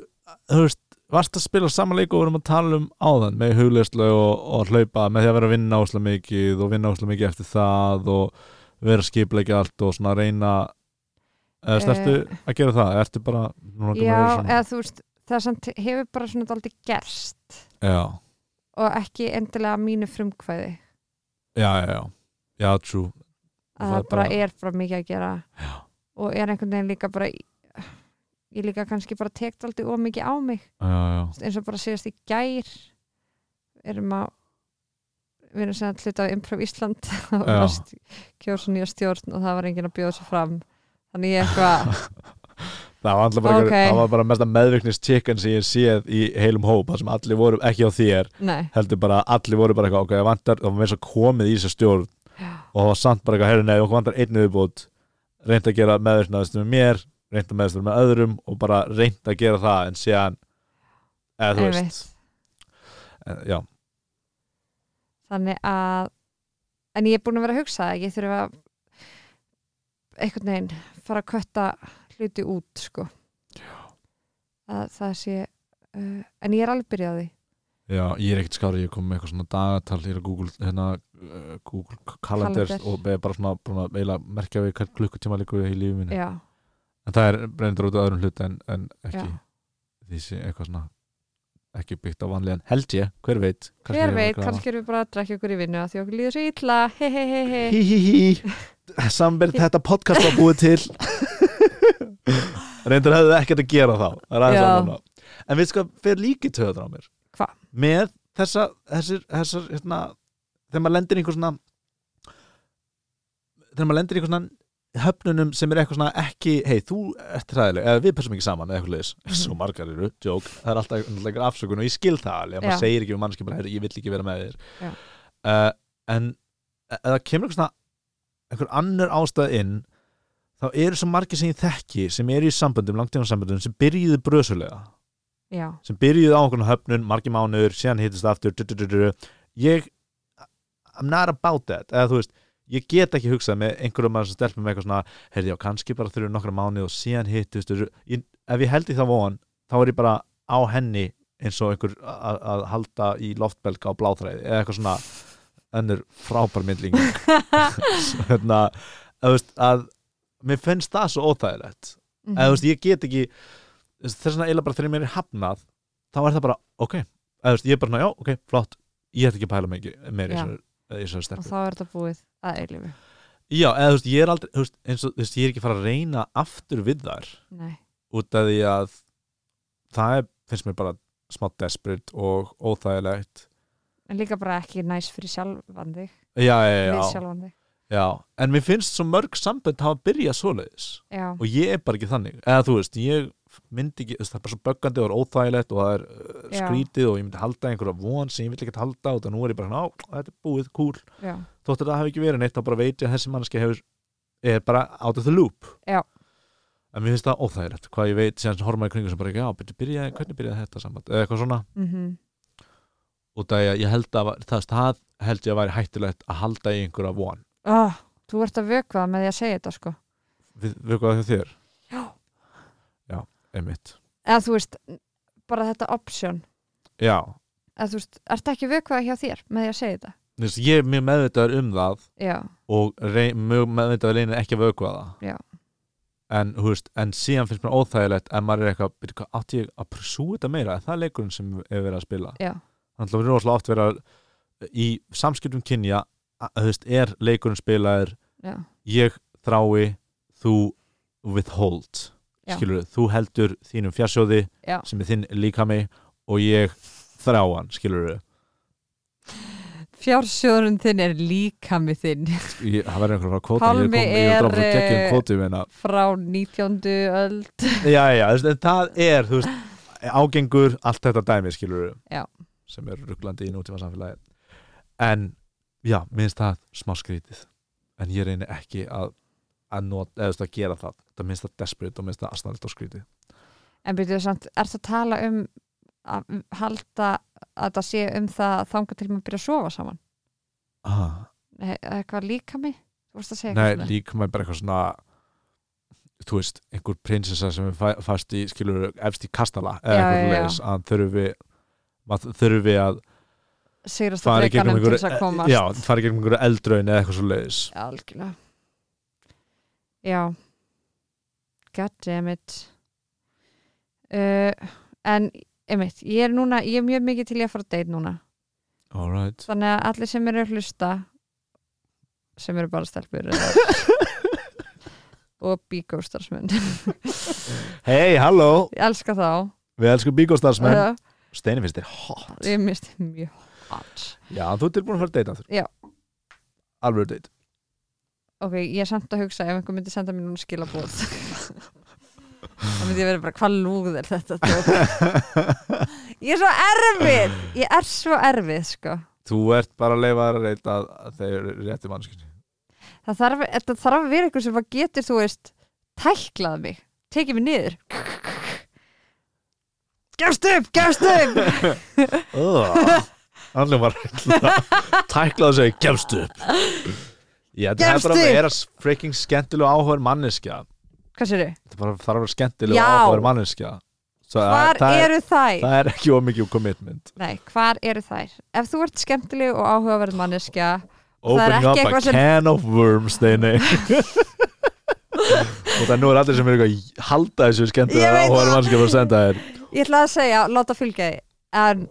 A: þú veist, varst að spila saman leik og vorum að tala um áðan með hugleyslu og, og hlaupa með því að vera að vinna ásla mikið og vinna ásla mikið eftir það og vera að skipleika allt og svona reyna eða snertu að gera það ertu bara núna langar mig að
B: Eh, já, eh.
A: vera
B: eða þú veist, það samt hefur bara svona daldi gerst
A: já,
B: og ekki endilega að mínu frumkvæði
A: já, já, já, já, true
B: að það bara er bara mikið að gera
A: Já.
B: og er einhvern veginn líka bara ég líka kannski bara tekt aldrei of mikið á mig
A: já, já,
B: eins og bara síðast í gær erum að við erum sem að hluta á Improv Ísland og
A: Já.
B: varst kjósa nýja stjórn og það var enginn að bjóða sér fram þannig ég eitthvað,
A: það var, alltaf bara,
B: Ok.
A: það var bara mesta meðvirknist chicken sem ég séð í heilum hóp þar sem allir voru, ekki á þér
B: nei
A: heldur bara, allir voru bara eitthvað ok, það vantar, það var meins að komið í þessu stjórn og það var samt bara eitthvað, herri nei, okkur vantar einu viðbútt reynd að gera meðvistnaðistum með mér reynd að meðvistnaðistum með öðrum og bara reynd að gera það en síðan eða þú veist
B: Einmitt.
A: en, já,
B: þannig að en ég er búin að vera að hugsa að ég þurfa að einhvern veginn fara að kötta hluti út sko að það sé uh, en ég er alveg byrjað á því
C: Já, ég er ekkert skári, ég kom með eitthvað svona dagatal hér á Google, hérna, uh, Google Calendars
B: Calendar.
C: og er bara svona búin að eiginlega merkja við hvern klukkutíma líku í lífi mínu.
B: já,
C: En það er breyndur út af öðrum hlut en, en ekki
B: Já.
C: því sé eitthvað svona ekki byggt á vanlegan held ég, hver veit kannski
B: hver
C: er
B: veit,
C: eitthvað
B: kannski erum við bara að drakja okkur í vinnu að því okkur líður svo illa hei hei hei hei
A: hí hí hí samverð þetta podcast var búið til reyndar hefðu ekkert að gera þá Það er aðeins
B: Já.
A: annað mál. en við sko fyrir líki töðan á mér
B: Hva?
A: með þessa, þessir, þessar hérna, þegar maður lendir í einhver svona þegar maður lendir í einhver svona höfnunum sem er eitthvað svona ekki hei, þú ert ræðileg, eða við passum ekki saman eða eitthvað leiðis,
B: Mhm.
A: svo margar eru, joke það er alltaf náttúrulega einhver afsökun og ég skil það alveg að maður
B: Já.
A: segir ekki við mannskipur, heyrðu, ég vill ekki vera með
B: Já.
A: þér uh, en ef það kemur einhver svona einhver annar ástæð inn þá eru svo margir sem ég þekki sem eru í samböndum, langtíma samböndum sem byrjuðu brösulega
B: já,
A: sem byrjuðu á einhvern höfnun, margir mánuður síðan hittist aftur du, du, du, du. ég I'm not about that eða þú veist, ég get ekki hugsað með einhverjum maður sem stelpur með eitthvað svona heyrði já, kannski bara þurfum nokkra mánuð og síðan hittist du, du, du. Ég, ef ég held í það von þá er ég bara á henni eins og einhver að að halda í loftbelga á bláþræði eða eitthvað svona önnur frábær myndling hérna, að, þú veist, að mér finnst það svo óþægilegt
B: mhm,
A: eða þú veist, ég get ekki þess þess vegna eiginlega bara þegar mér er hafnað þá er það bara, ok eða þú veist, ég er bara, svona, já, ok, flott ég ætti ekki að pæla mig meir í
B: Já.
A: þessari- í þessari
B: og
A: stelpu
B: þá er þetta búið að eilifu
A: já, eða þú veist, ég er aldrei, þú veist, eins og þú veist, ég er ekki að fara að reyna aftur við þær
B: nei,
A: út af því að það er, finnst mér bara smá desperate og óþægilegt
B: en líka bara ekki næs fyrir sjálfan þig
A: já, já,
B: við
A: já,
B: sjálfan þig
A: já en mér finnst svo mörg sambönd hafa byrjað svoleiðis
B: já,
A: og ég er bara ekki þannig eða þú veist, ég myndi ekki þú veist, það er bara svo böggandi og er óþægilegt og það er uh,
B: Já.
A: skrítið og ég myndi halda einhverja von sem ég vil ekki halda og það nú er ég bara svona, á, þetta er búið, cool
B: já,
A: þótt að það hafi ekki verið neitt, þá bara veit ég að þessi mannski hefur, er bara out of the loop
B: Já.
A: en mér finnst það óþægilegt hvað ég veit, síðan horfum maður í kringu sem bara ekki, já, byrja, byrja, hvernig byrjaði þetta samband eða eitthvað svona,
B: mhm,
A: og það ég, ég held að var- það, það held ég að væri hættulegt að halda í einhverja von
B: ah, þú ert að vökvað með því að segja þetta sko
A: við, við hvað þau þér,
B: já,
A: einmitt
B: eða þú veist bara þetta option
A: já,
B: eða þú veist, ert ekki vökvað hjá þér með því að segja þetta
A: þú veist, ég er mjög meðvitaður um það
B: já,
A: og rey- mjög meðvitað reynir ekki að vökva það
B: Já.
A: en, þú veist, en síðan finnst mér óþægilegt að maður er eitthvað, byrju hvað, átti ég að pursue þetta meira, er það er leikurinn sem er verið að spila
B: Já.
A: þannig að við erum rosalega oft verið að í samskiptum kynja að, þú veist, er leikurinn spilaður
B: já,
A: ég þrái, þú withhold,
B: Já.
A: skilur þú heldur þínum fjarsjóði
B: Já.
A: sem er þinn líkami og ég þrá hann, skilur
B: fjársjóðurinn þinn er líka með þinn
A: ég, það verður einhverjum að kvota
B: Pálmi
A: ég kom, ég
B: er,
A: dróf svo
B: eh,
A: geggjum kvotum en að
B: frá 19. öld
A: já, já, þú veist, en það er þú veist, ágengur allt þetta dæmi skilur
B: Já.
A: sem er rugglandi í nútíma samfélagi en já, minnst það smá skrítið en ég reyni ekki að að, not, eða, þú veist, að gera það það minnst það desperate og minnst það astanlegt og skrítið
B: en byrjuðu samt, ert að tala um að halda að það sé um það þanga til maður byrja að sofa saman
A: ah,
B: Nei, eitthvað líka mig þú vorst að segja
A: nei,
B: eitthvað svona.
A: líka maður bara eitthvað svona þú veist, einhver prinsessa sem er fæ- fast í, skilur, efst í kastala eða
B: Já,
A: eitthvað
B: já, já.
A: leis, að þurfi maður þurfi að
B: sigrast að
A: fara í gegnum
B: dreganum til þess að
A: einhverju e-
B: komast
A: já, fara í gegnum einhverju eldraun eða eitthvað svo leiðis
B: algjörlega já god damn it uh, en einmitt, ég er núna, ég er mjög mikið til ég að fara að date núna,
A: all right
B: þannig að allir sem eru að hlusta sem eru bara stelpur eða- og bíkóstarsmenn
A: Hei, halló,
B: ég elska þá
A: við elskum bíkóstarsmenn uh,
B: uh,
A: Steini finnst þér hot
B: ég misti mjög hot
A: Já, þú ert tilbúin að fara að deyta aftur
B: Já.
A: Alveg deyt
B: ok, ég er samt að hugsa ef einhver myndi senda mér núna skilabóð þá myndi ég verið bara hvað lúð er þetta djók?" ég er svo erfið ég er svo erfið sko
A: Þú ert bara að leifa þær að reyta að þeir eru rétti mannskinni
B: það þarf, það þarf að vera eitthvað sem að getur þú veist, tæklað mig tekið mig niður gefst upp, gefst upp
A: Það Hann var tæklað að segja gefst upp Já, þetta er
B: Gefst
A: bara að
B: upp.
A: vera freaking skemmtileg áhugaður manneskja
B: Hvað sér þau?
A: Þetta bara þarf að vera skemmtileg
B: Já.
A: áhugaður manneskja Svo
B: Hvar
A: það, er,
B: eru þær?
A: það er ekki ómikið commitment
B: Nei, hvar eru þær? Ef þú ert skemmtileg og áhugaverð manneskja Það er
A: Open
B: ekki
A: up a
B: eitthvað sem-
A: can of worms Steini Og það nú er allir sem er eitthvað halda þessu
B: Ég
A: skemmtilega
B: veit
A: áhugaður
B: það.
A: manneskja bara að senda þér
B: Ég ætla að segja, láta fylgja því En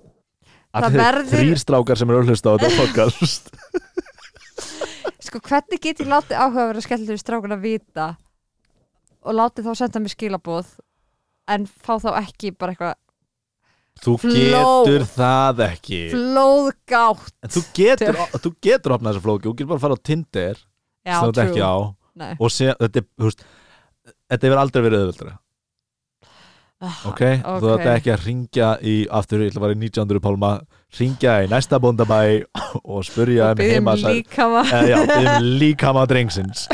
B: Það
A: Allir
B: verður-
A: Þrýr strákar sem eru að hlusta á þetta podcast
B: sko, hvernig get ég látið áhugaverð að skemmtileg strákuna vita og látið þá senda mér skilaboð en fá þá ekki bara eitthvað
A: Þú
B: Flow.
A: getur það ekki
B: flóðgátt
A: En þú getur, þú getur opnað þessu flóki Þú getur bara að fara á Tinder
B: Já,
A: sem þú ert
B: true.
A: ekki á
B: Nei.
A: og sé, þetta, er, þú veist, þetta hefur aldrei verið auðvöldra Ah, ok, þú
B: ok.
A: ætti ekki að ringja í aftur, ég ætla að vera í 1900 pálma ringja í næsta bóndabæ og spurja um
B: Biðjum
A: heima
B: líka maður
A: Eh, já, biðjum líkama drengsins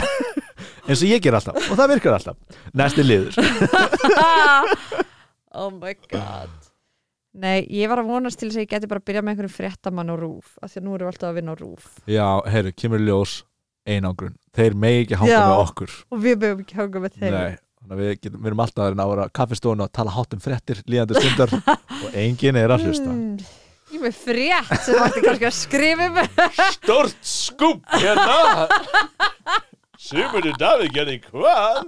A: eins og ég ger alltaf og það virkar alltaf, næsti liður
B: oh my god Nei, ég var að vonast til þess að ég geti bara að byrja með einhverjum fréttamann á rúf af því að nú erum við alltaf að vinna á rúf
A: já, heyrðu, kemur í ljós einangrun, þeir megi ekki hanga
B: Já.
A: með okkur
B: og við mögum ekki hanga með þeim
A: Nei, þannig að við, getum, við erum alltaf að reyna að vera kaffistónu og tala hátt um fréttir, líðandi stundar og enginn er að hlusta
B: Mm, Ég er með frétt sem þú ætti kannski að skrifa um
C: Stort skúm hérna Sigurður Davíð gerði hvað?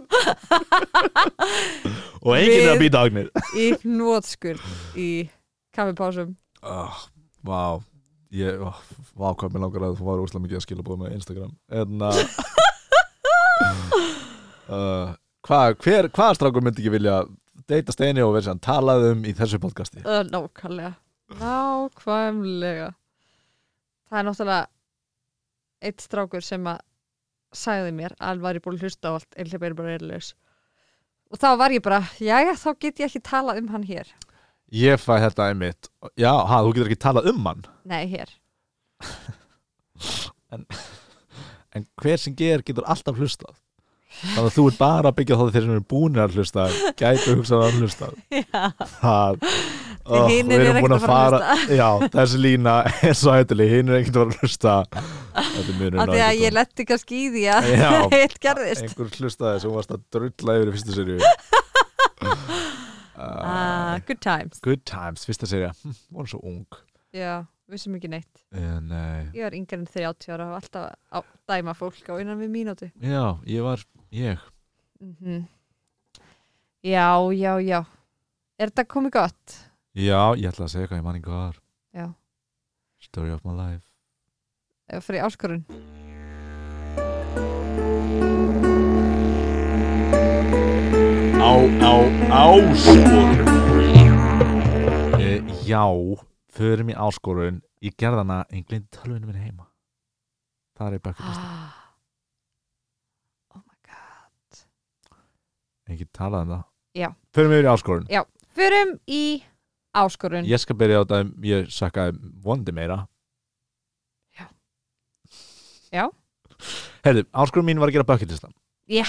A: og enginn er að
B: Við-
A: býta agnir
B: í hnótskur í kaffipásum
A: oh, Vá Ég, oh, vá hvað mér langar að þú var úrslega mikið að skila búið með Instagram En að uh, Hvað, hver, hvaða strákur myndi ekki vilja deyta steini og verið sem talað um í þessu podcasti?
B: uh, Nákvæmlega Nákvæmlega Það er náttúrulega eitt strákur sem að sagði mér að hann væri búin að hlusta á allt einhlega bara er bara erlaus og þá var ég bara, jæja þá get ég ekki talað um hann hér
A: Ég fæ þetta einmitt Já, ha, þú getur ekki talað um hann
B: Nei, hér
A: En hver sem ger getur alltaf hlustað Þannig að þú ert bara að byggja þá þeir sem eru búinir að hlusta Gætu hugsað að hlusta
B: Já,
A: Það
B: Því
A: Oh,
B: hinir
A: við
B: eru
A: erum búin
B: ekkert að fara að
A: Já, þessi lína er svo hættileg Hinn er ekkert að fara að hlusta Þetta er munurinn
B: af því
A: á
B: að
A: ykkur.
B: ég letti kannski í því að
A: Já.
B: hitt gerðist
A: einhver hlustaði sem varst að drulla yfir í fyrstu serju
B: ah,
A: uh,
B: Good times
A: Good times, fyrsta serja hm, voru svo ung
B: Já, vissum ekki neitt
A: en, uh,
B: Ég var yngre en 30 ára og alltaf að dæma fólk á innan við mínútu.
A: já, ég var ég,
B: Mhm. Já, já, já. Er þetta komið gott?
A: já, ég ætla að segja hvað ég manni var
B: Já.
A: Story of my life
B: Ef að fara í áskorun.
C: Á, á, áskorun
A: uh, Já, förum í áskorun ég gerði hana en glind tölvunum minn heima það er í bakið
B: Oh my god.
A: en ekki talað um það
B: Já.
A: förum yfir í áskorun
B: Förum í áskorun.
A: ég skal byrja á það ég sakkaði vondi meira
B: Já. Já.
A: Herðu, áskorun mín var að gera bucketlista
B: Já,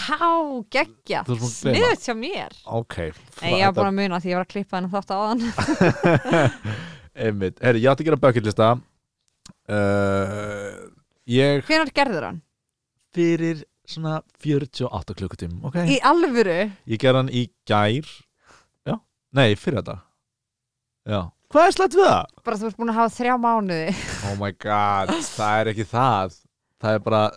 B: geggja.
A: Þú ert búin að gleyma.
B: Sniðut hjá mér.
A: Ok
B: Nei, ég var bara að muna því ég var að klippa hennar þátt áðan.
A: Einmitt, herri, ég átti að gera bucketlista uh, Ég
B: Hvenær gerður hann?
A: Fyrir svona 48 klukkutímum, ok?
B: Í alvöru?
A: Ég gerði hann í gær Já, nei, fyrir þetta Já, hvað er slætt við það?
B: Bara þú ert búin að hafa þrjá mánuði.
A: Oh my god, það er ekki það Það er bara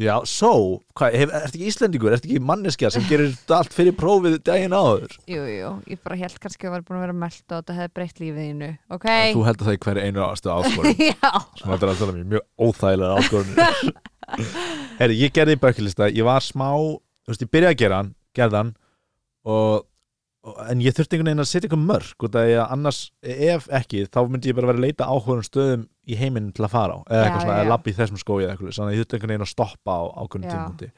A: Já, so, hvað, hef, ertu ekki Íslendingur, ertu ekki manneskja sem gerir allt fyrir prófið daginn áður?
B: Jú, jú, ég bara held kannski að ég var búin að vera meld og þetta hefði breytt lífið þínu, ok?
A: Þú heldur það í hverju einu ástu áskorun
B: Já,
A: sem þetta er að tala um, mjög óþægilega áskorunir Herri, ég gerði í bökkilista ég var smá, þú veist, ég byrjaði að gera hann gerði hann og, og, en ég þurfti einhvern veginn að setja eitthvað mörg út af því að annars, ef ekki þá myndi ég bara vera að leita áhugunum stöðum í heiminn til að fara á, eða
B: Já,
A: eitthvað svona,
B: já.
A: eða labba í þessum skói eða eitthvað, þannig að ég þurfti einhvern veginn að stoppa á ákveðnum
B: Já.
A: tímundi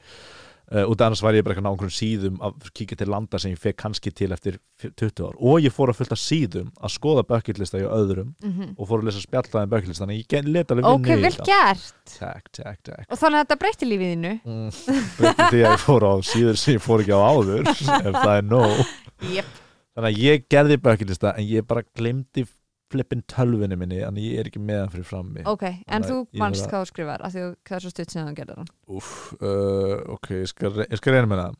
A: Uh, út af annars var ég bara eitthvað á einhvern síðum að kíkja til landa sem ég fekk kannski til eftir 20 ár og ég fór að fullta síðum að skoða bökkillista í öðrum
B: mm
A: og fór að lesa spjallaðin bökkilist þannig að ég get- let alveg
B: ok,
A: vinna
B: vel gert
A: Takk, takk, takk
B: og þannig að þetta breytti lífið þínu
A: mm, Breytti því að ég fór á síður sem ég fór ekki á áður ef það er nóg
B: yep.
A: Þannig að ég gerði bökkilista en ég bara glemdi flippin tölvunni minni en ég er ekki meðan fyrir frammi
B: ok, en
A: Þannig
B: þú
A: að ég
B: manst
A: verð að-
B: hvað þú skrifar af því að það er svo stutt sinna þú gerðir hann
A: Úff, uh, ok, ég skal, re- ég skal reyna með það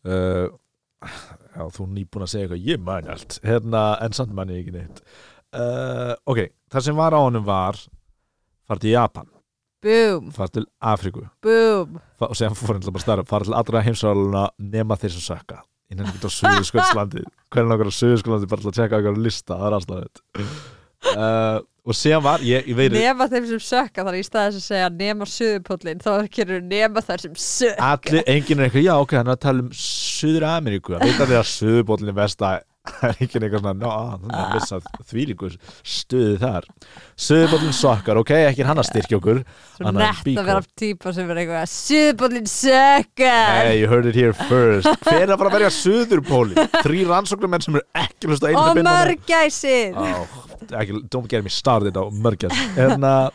A: uh, Já, þú er nýbúin að segja eitthvað Ég man allt, hérna, en samt man ég ekki neitt uh, Ok, það sem var á honum var fara til Japan,
B: Búm,
A: fara til Afríku
B: búm
A: fa- og segja fór hérna bara starf fara til allra heimsáluna nema þeir sem sökka innan ekki á Suðurskjöldslandið hvernig okkar á Suðurskjöldslandið bara til að tjekka okkar lista það er aðstæðið uh, og síðan var, ég, ég veit
B: nema þeim sem sökka þar í staðis að segja nema suðupóllin þá gerur nema þar sem sökka
A: allir, enginn er eitthvað, já ok, hann er að tala um Suður Ameríku, að veit að þeirra Suðurbóllin vesta, það er enginn eitthvað svona ná, þannig að missa þvílíku stuði þar, Suðurbóllin sokkar ok, ekki er hann að styrkja okkur
B: svo
A: Annar
B: nett
A: bíkó.
B: að vera típa sem er eitthvað suðupóllin sökka
A: hey, you heard it here first, hver er að fara að verja Suðurbólin, þrý rannsóknarmenn sem eru ekki að hlusta á einu
B: og
A: binduna.
B: mörgæsir
A: oh, ekki, don't get me started á mörgjast en að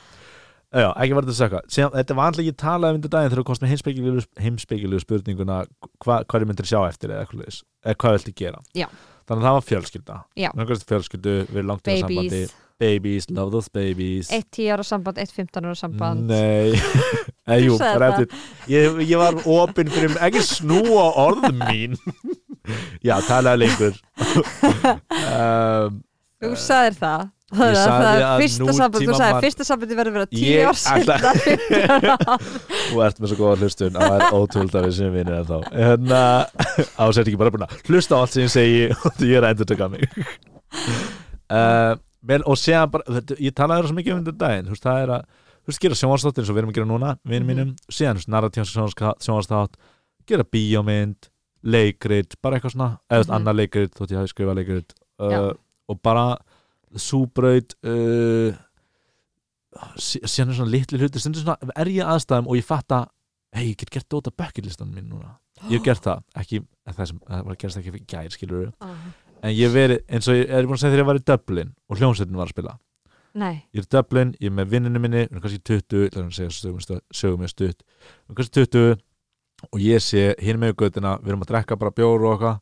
A: Já, ekki var þetta að segja Síðan, þetta var alltaf ekki talað um þetta daginn þegar þú komst með heimspekilegu, heimspekilegu spurninguna hva, hvað er myndir sjá eftir eða, eitthvað leiðis, eða hvað viltu gera
B: Já.
A: Þannig að það var fjölskylda
B: Já.
A: Nöngast fjölskyldu, við erum langt í sambandi
B: babies,
A: Babies, love those babies
B: eitt 10 ára samband eitt 15 ára samband
A: Nei, eða jú,
B: sagði
A: bara
B: það.
A: eftir ég, ég var opinn fyrir, ekki snúa orð mín Já, talaði lengur um,
B: þú sagðir það Það er-
A: sagði
B: það er
A: að
B: fyrsta samband, þú
A: nútímamann-
B: sagði fyrsta sambandi verður að vera tíu
A: Ég
B: ár
A: ætla-
B: sinna 15 ára
A: Þú ert með svo góða hlustun að það er ótrúld að við sem vinir en þá En ásett ekki bara búin að hlusta á allt sem ég segi og því ég er að endur taka mig uh, men, Og séðan bara, þetta, ég talaði þér svo mikið um þetta daginn þú veist, Það er að, þú veist, gera sjónvarsþáttir eins og við erum að gera núna,
B: Mhm.
A: vinir mínum Séðan, þú veist, narratíðan sjónvarsþátt Gera bíómynd, leikrit, bara eitthvað svona Eða mm
B: Mhm.
A: annað leikrit, þótt ég hafi skrifað leikrit uh,
B: Já.
A: Og bara súbraut uh, sí- síðan er svona litli hluti stundum svona er ég í aðstæðum og ég fatta hei, ég get gert dóta bucketlistan mín núna ég hef gert það, ekki það, sem, það var að gerast ekki fyrir gær, skilur en ég hef verið, eins og ég er búin að segja þegar ég var í Dublin og hljómsveitin var að spila
B: nei,
A: ég er í Dublin, ég er með vinninu minni við erum kannski 20, lærðum að segja sögum, stu- sögum ég stutt við erum kannski 20 og ég sé hinn með göttina við erum að drekka bara bjóru og okkar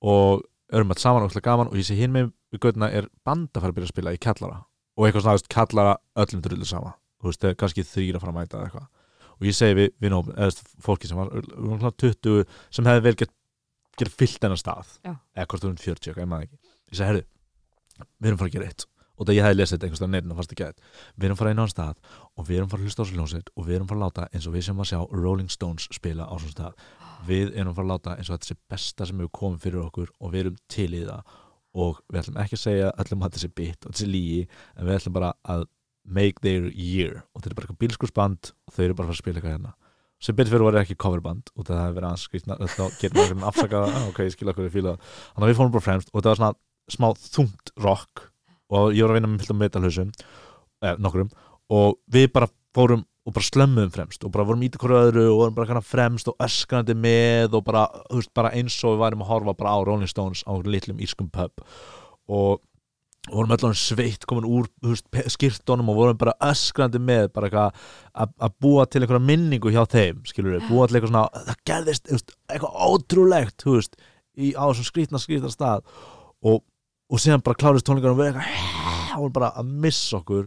A: og erum að saman og gaman og ég sé hinn með göttina er band að fara að byrja að spila í kallara og eitthvað svona þú veist, kallara öllum drullu sama þú veist, það er kannski þrýra fara að mæta eða eitthvað og ég segi við vinnum, eða þú veist, fólki sem var við vorum svona 20 sem hefði vel gert, gert fyllt þennan stað
B: Já.
A: eða hvort þú erum 40, eitthvað, ég maður ekki ég segi, herðu, við erum að fara að gera eitt og það ég hefði lesið þetta einhvers staðar á netinu og fannst ekki að við erum að fara inn á þann stað og við erum að fara að hlusta á svo hljómsveit og við erum að fara að láta eins og við sem að sjá Rolling Stones spila á svona stað við erum að fara að láta eins og þetta sé besta sem hefur komið fyrir okkur og við erum til í það og við ætlum ekki að segja öllum að þetta sé bit og þetta sé lígi en við ætlum bara að make their year og þetta er bara eitthvað bílskursband og þau eru bara að fara að spila eitthvað hérna sem betur fyrir var ekki coverband og það hefði verið anskrýtna þá getur maður einhvern afsakað "Ah, ok, ég skil okkur, ég fíla það." þannig að við fórum bara fremst og þetta var svona smá þungt rock og ég var að vinna með fylgum metalhausum eh, nokkrum og við bara fórum og bara slömmuðum fremst og bara vorum ít hverju öðru og vorum bara kannar fremst og öskrandi með og bara, þú veist, bara eins og við værum að horfa bara á Rolling Stones á litlum írskum pub og vorum allan sveitt komin úr þú veist, pe- skyrtunum og vorum bara öskrandi með bara eitthvað að- að búa til einhverja minningu hjá þeim, skilur við, búa til eitthvað svona það gerðist, þú veist, eitthvað ótrúlegt þú veist, í, á þessum skrýtna skrýtna stað og, og síðan bara klárist tónlingar og við eitthvað og vorum bara að missa okkur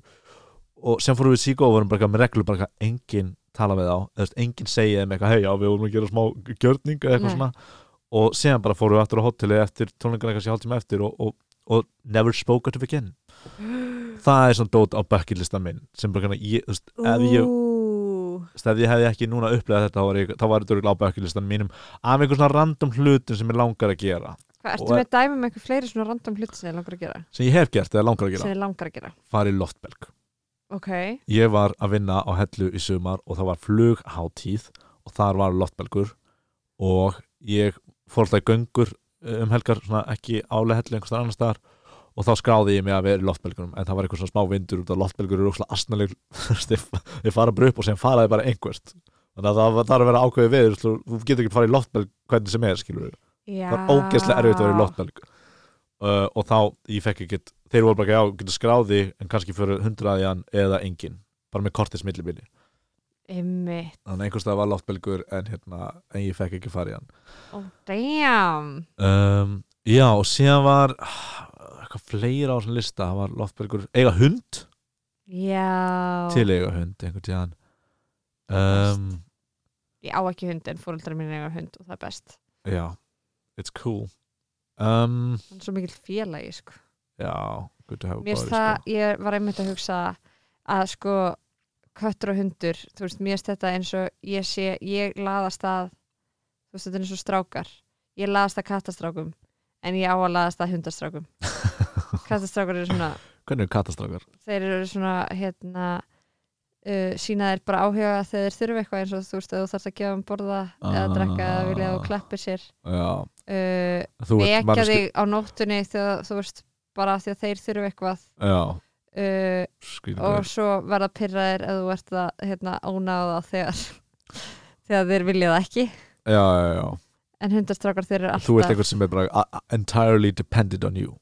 A: og sem fórum við síkó og vorum bara eitthvað með reglu bara eitthvað enginn tala við þá eða þú veist, enginn segja þeim eitthvað hei já við vorum að gera smá gjörning eða eitthvað
B: Nei.
A: svona og síðan bara fórum við aftur á hóteli eftir tónlingarna kannski hálftíma eftir og, og, og never spoke to begin það er svona dót á bucketlista minn sem bara kannar ég, þú veist, ef ég,
B: Ú,
A: þú veist, ef ég hefði ekki núna upplegað þetta þá var, ég, þá var þetta örugglega á bucketlistan mínum af einhver svona random hlutum sem ég langar að gera
B: hvað ertu
A: Og-
B: með dæmi með einhver fleiri svona random hluti sem þið langar að gera
A: sem ég hef gert eða langar
B: sem
A: að gera
B: þið langar að gera
A: fara í loftbelg
B: ok,
A: ég var að vinna á hellu í sumar og það var flugháttíð og þar var loftbelgur og ég fór alltaf í göngur um helgar, svona ekki álega hellu einhvers staðar annars staðar og þá skráði ég mig að vera í loftbelgunum en það var eitthvað svona smá vindur út af loftbelgur eru óslega astnaleg þeir fara bara upp og sem faraði bara einhvert þannig að það var- þarf að vera ákveðið veður þú þú getur ekki að fara í loftbelg hvernig sem er skilur
B: já
A: það var ógeðslega erfitt að vera í loftbelg uh, og þá, ég fekk ekki þeir voru bara, já, getur skráði en kannski fyrir hundraðjan eða engin bara með kortis millibili,
B: Einmitt.
A: þannig að einhvers það var loftbelgur en, hérna, en ég fekk ekki farið hann
B: oh damn
A: um, já, og síðan var ah, eitthvað fleira á þessum lista það var Loftbergur, eiga hund
B: já
A: til eiga hund einhvern tíðan um,
B: ég á ekki hund en fóreldrar mín eiga hund og það er best
A: já, it's cool um,
B: hann er svo mikill félagi sko.
A: já, good to have a
B: mér
A: body
B: finnst
A: sko.
B: það, ég var einmitt að hugsa að sko köttur og hundur, þú veist, mér finnst þetta eins og ég sé, ég laðast að þú veist, þetta er eins og strákar ég laðast að kattastrákum en ég á að laðast að hundastrákum kattastrákar eru svona
A: hvernig er katastrákar?
B: þeir eru svona hérna uh, sína þeir bara áhuga þegar þeir þurfa eitthvað eins og þú veist að þú þarfst að gefa um borða eða
A: Ah.
B: drekka eða vilja að þú klappir sér
A: já,
B: uh,
A: þú ert
B: vekja
A: manneskja-
B: þig á nóttunni þegar þú veist bara af því að þeir þurfa eitthvað
A: já,
B: uh,
A: skrýtum
B: og svo verða pyrraðir ef þú ert að hérna, ónáða þegar þegar þeir vilja það ekki
A: já, já, já,
B: en hundastrákar þeir eru
A: þú ert
B: alltaf
A: einhver sem er bara a- a- entirely dependent on you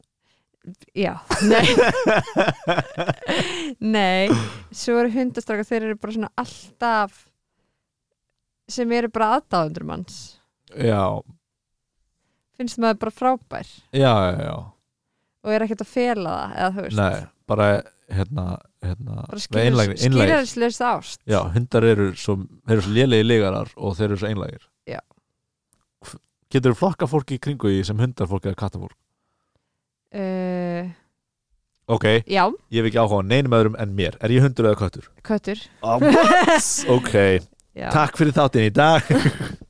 B: já, nei nei, svo eru hundastrákar þeir eru bara svona alltaf sem eru bara aðdáðundur manns
A: já,
B: finnst maður bara frábær
A: já, já, já
B: og er ekkert að fela það eða þú veist,
A: Nei, bara hérna, hérna
B: bara
A: einlægni-
B: skýrir-
A: einlægir.
B: skýrarislaust ást
A: Já, hundar eru svo, þeir eru svo lélegi ligarar og þeir eru svo einlægir
B: Já.
A: Hv- Getur þú flokka fólki í kringu því sem hundarfólk eða kattafólk?
B: uh,
A: Ok,
B: já,
A: ég hef ekki áhuga á neinum öðrum en mér Er ég hundur eða köttur?
B: köttur
A: Oh, what? ok,
B: já.
A: takk fyrir þáttinn í dag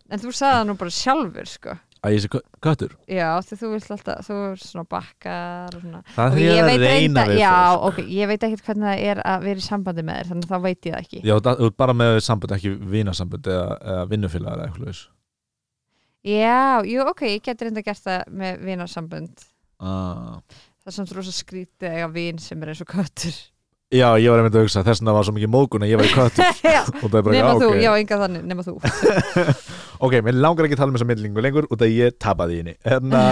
B: en þú sagði það nú bara sjálfur sko
A: Að ég sé kö- köttur?
B: Já, því þú vilt alltaf, þú er svona bakkar og svona.
A: Það
B: Og
A: er því
B: ég
A: að
B: veit
A: reyna
B: reynda-
A: við
B: já,
A: fólk.
B: ok, ég veit ekkert hvernig það er að vera í sambandi með þér, þannig að þá veit ég það ekki.
A: Já, það, þú ert bara með sambund, ekki vinasambund eða, eða vinnufélag eða eitthvað leis
B: Já, jú, ok, ég get reynda gert það með vinarsambund.
A: ah.
B: Það er samt rosa skrítið að eiga vin sem er eins og köttur.
A: Já, ég var einmitt að hugsa, þess vegna var svo mikið mógun að ég var í köttur
B: já,
A: og það er bara
B: nema
A: ekki,
B: þú,
A: ok.
B: já, enga þannig, nema þú.
A: Ok, mér langar ekki að tala um þessa myndlingu lengur út af ég tapaði í henni Hérna,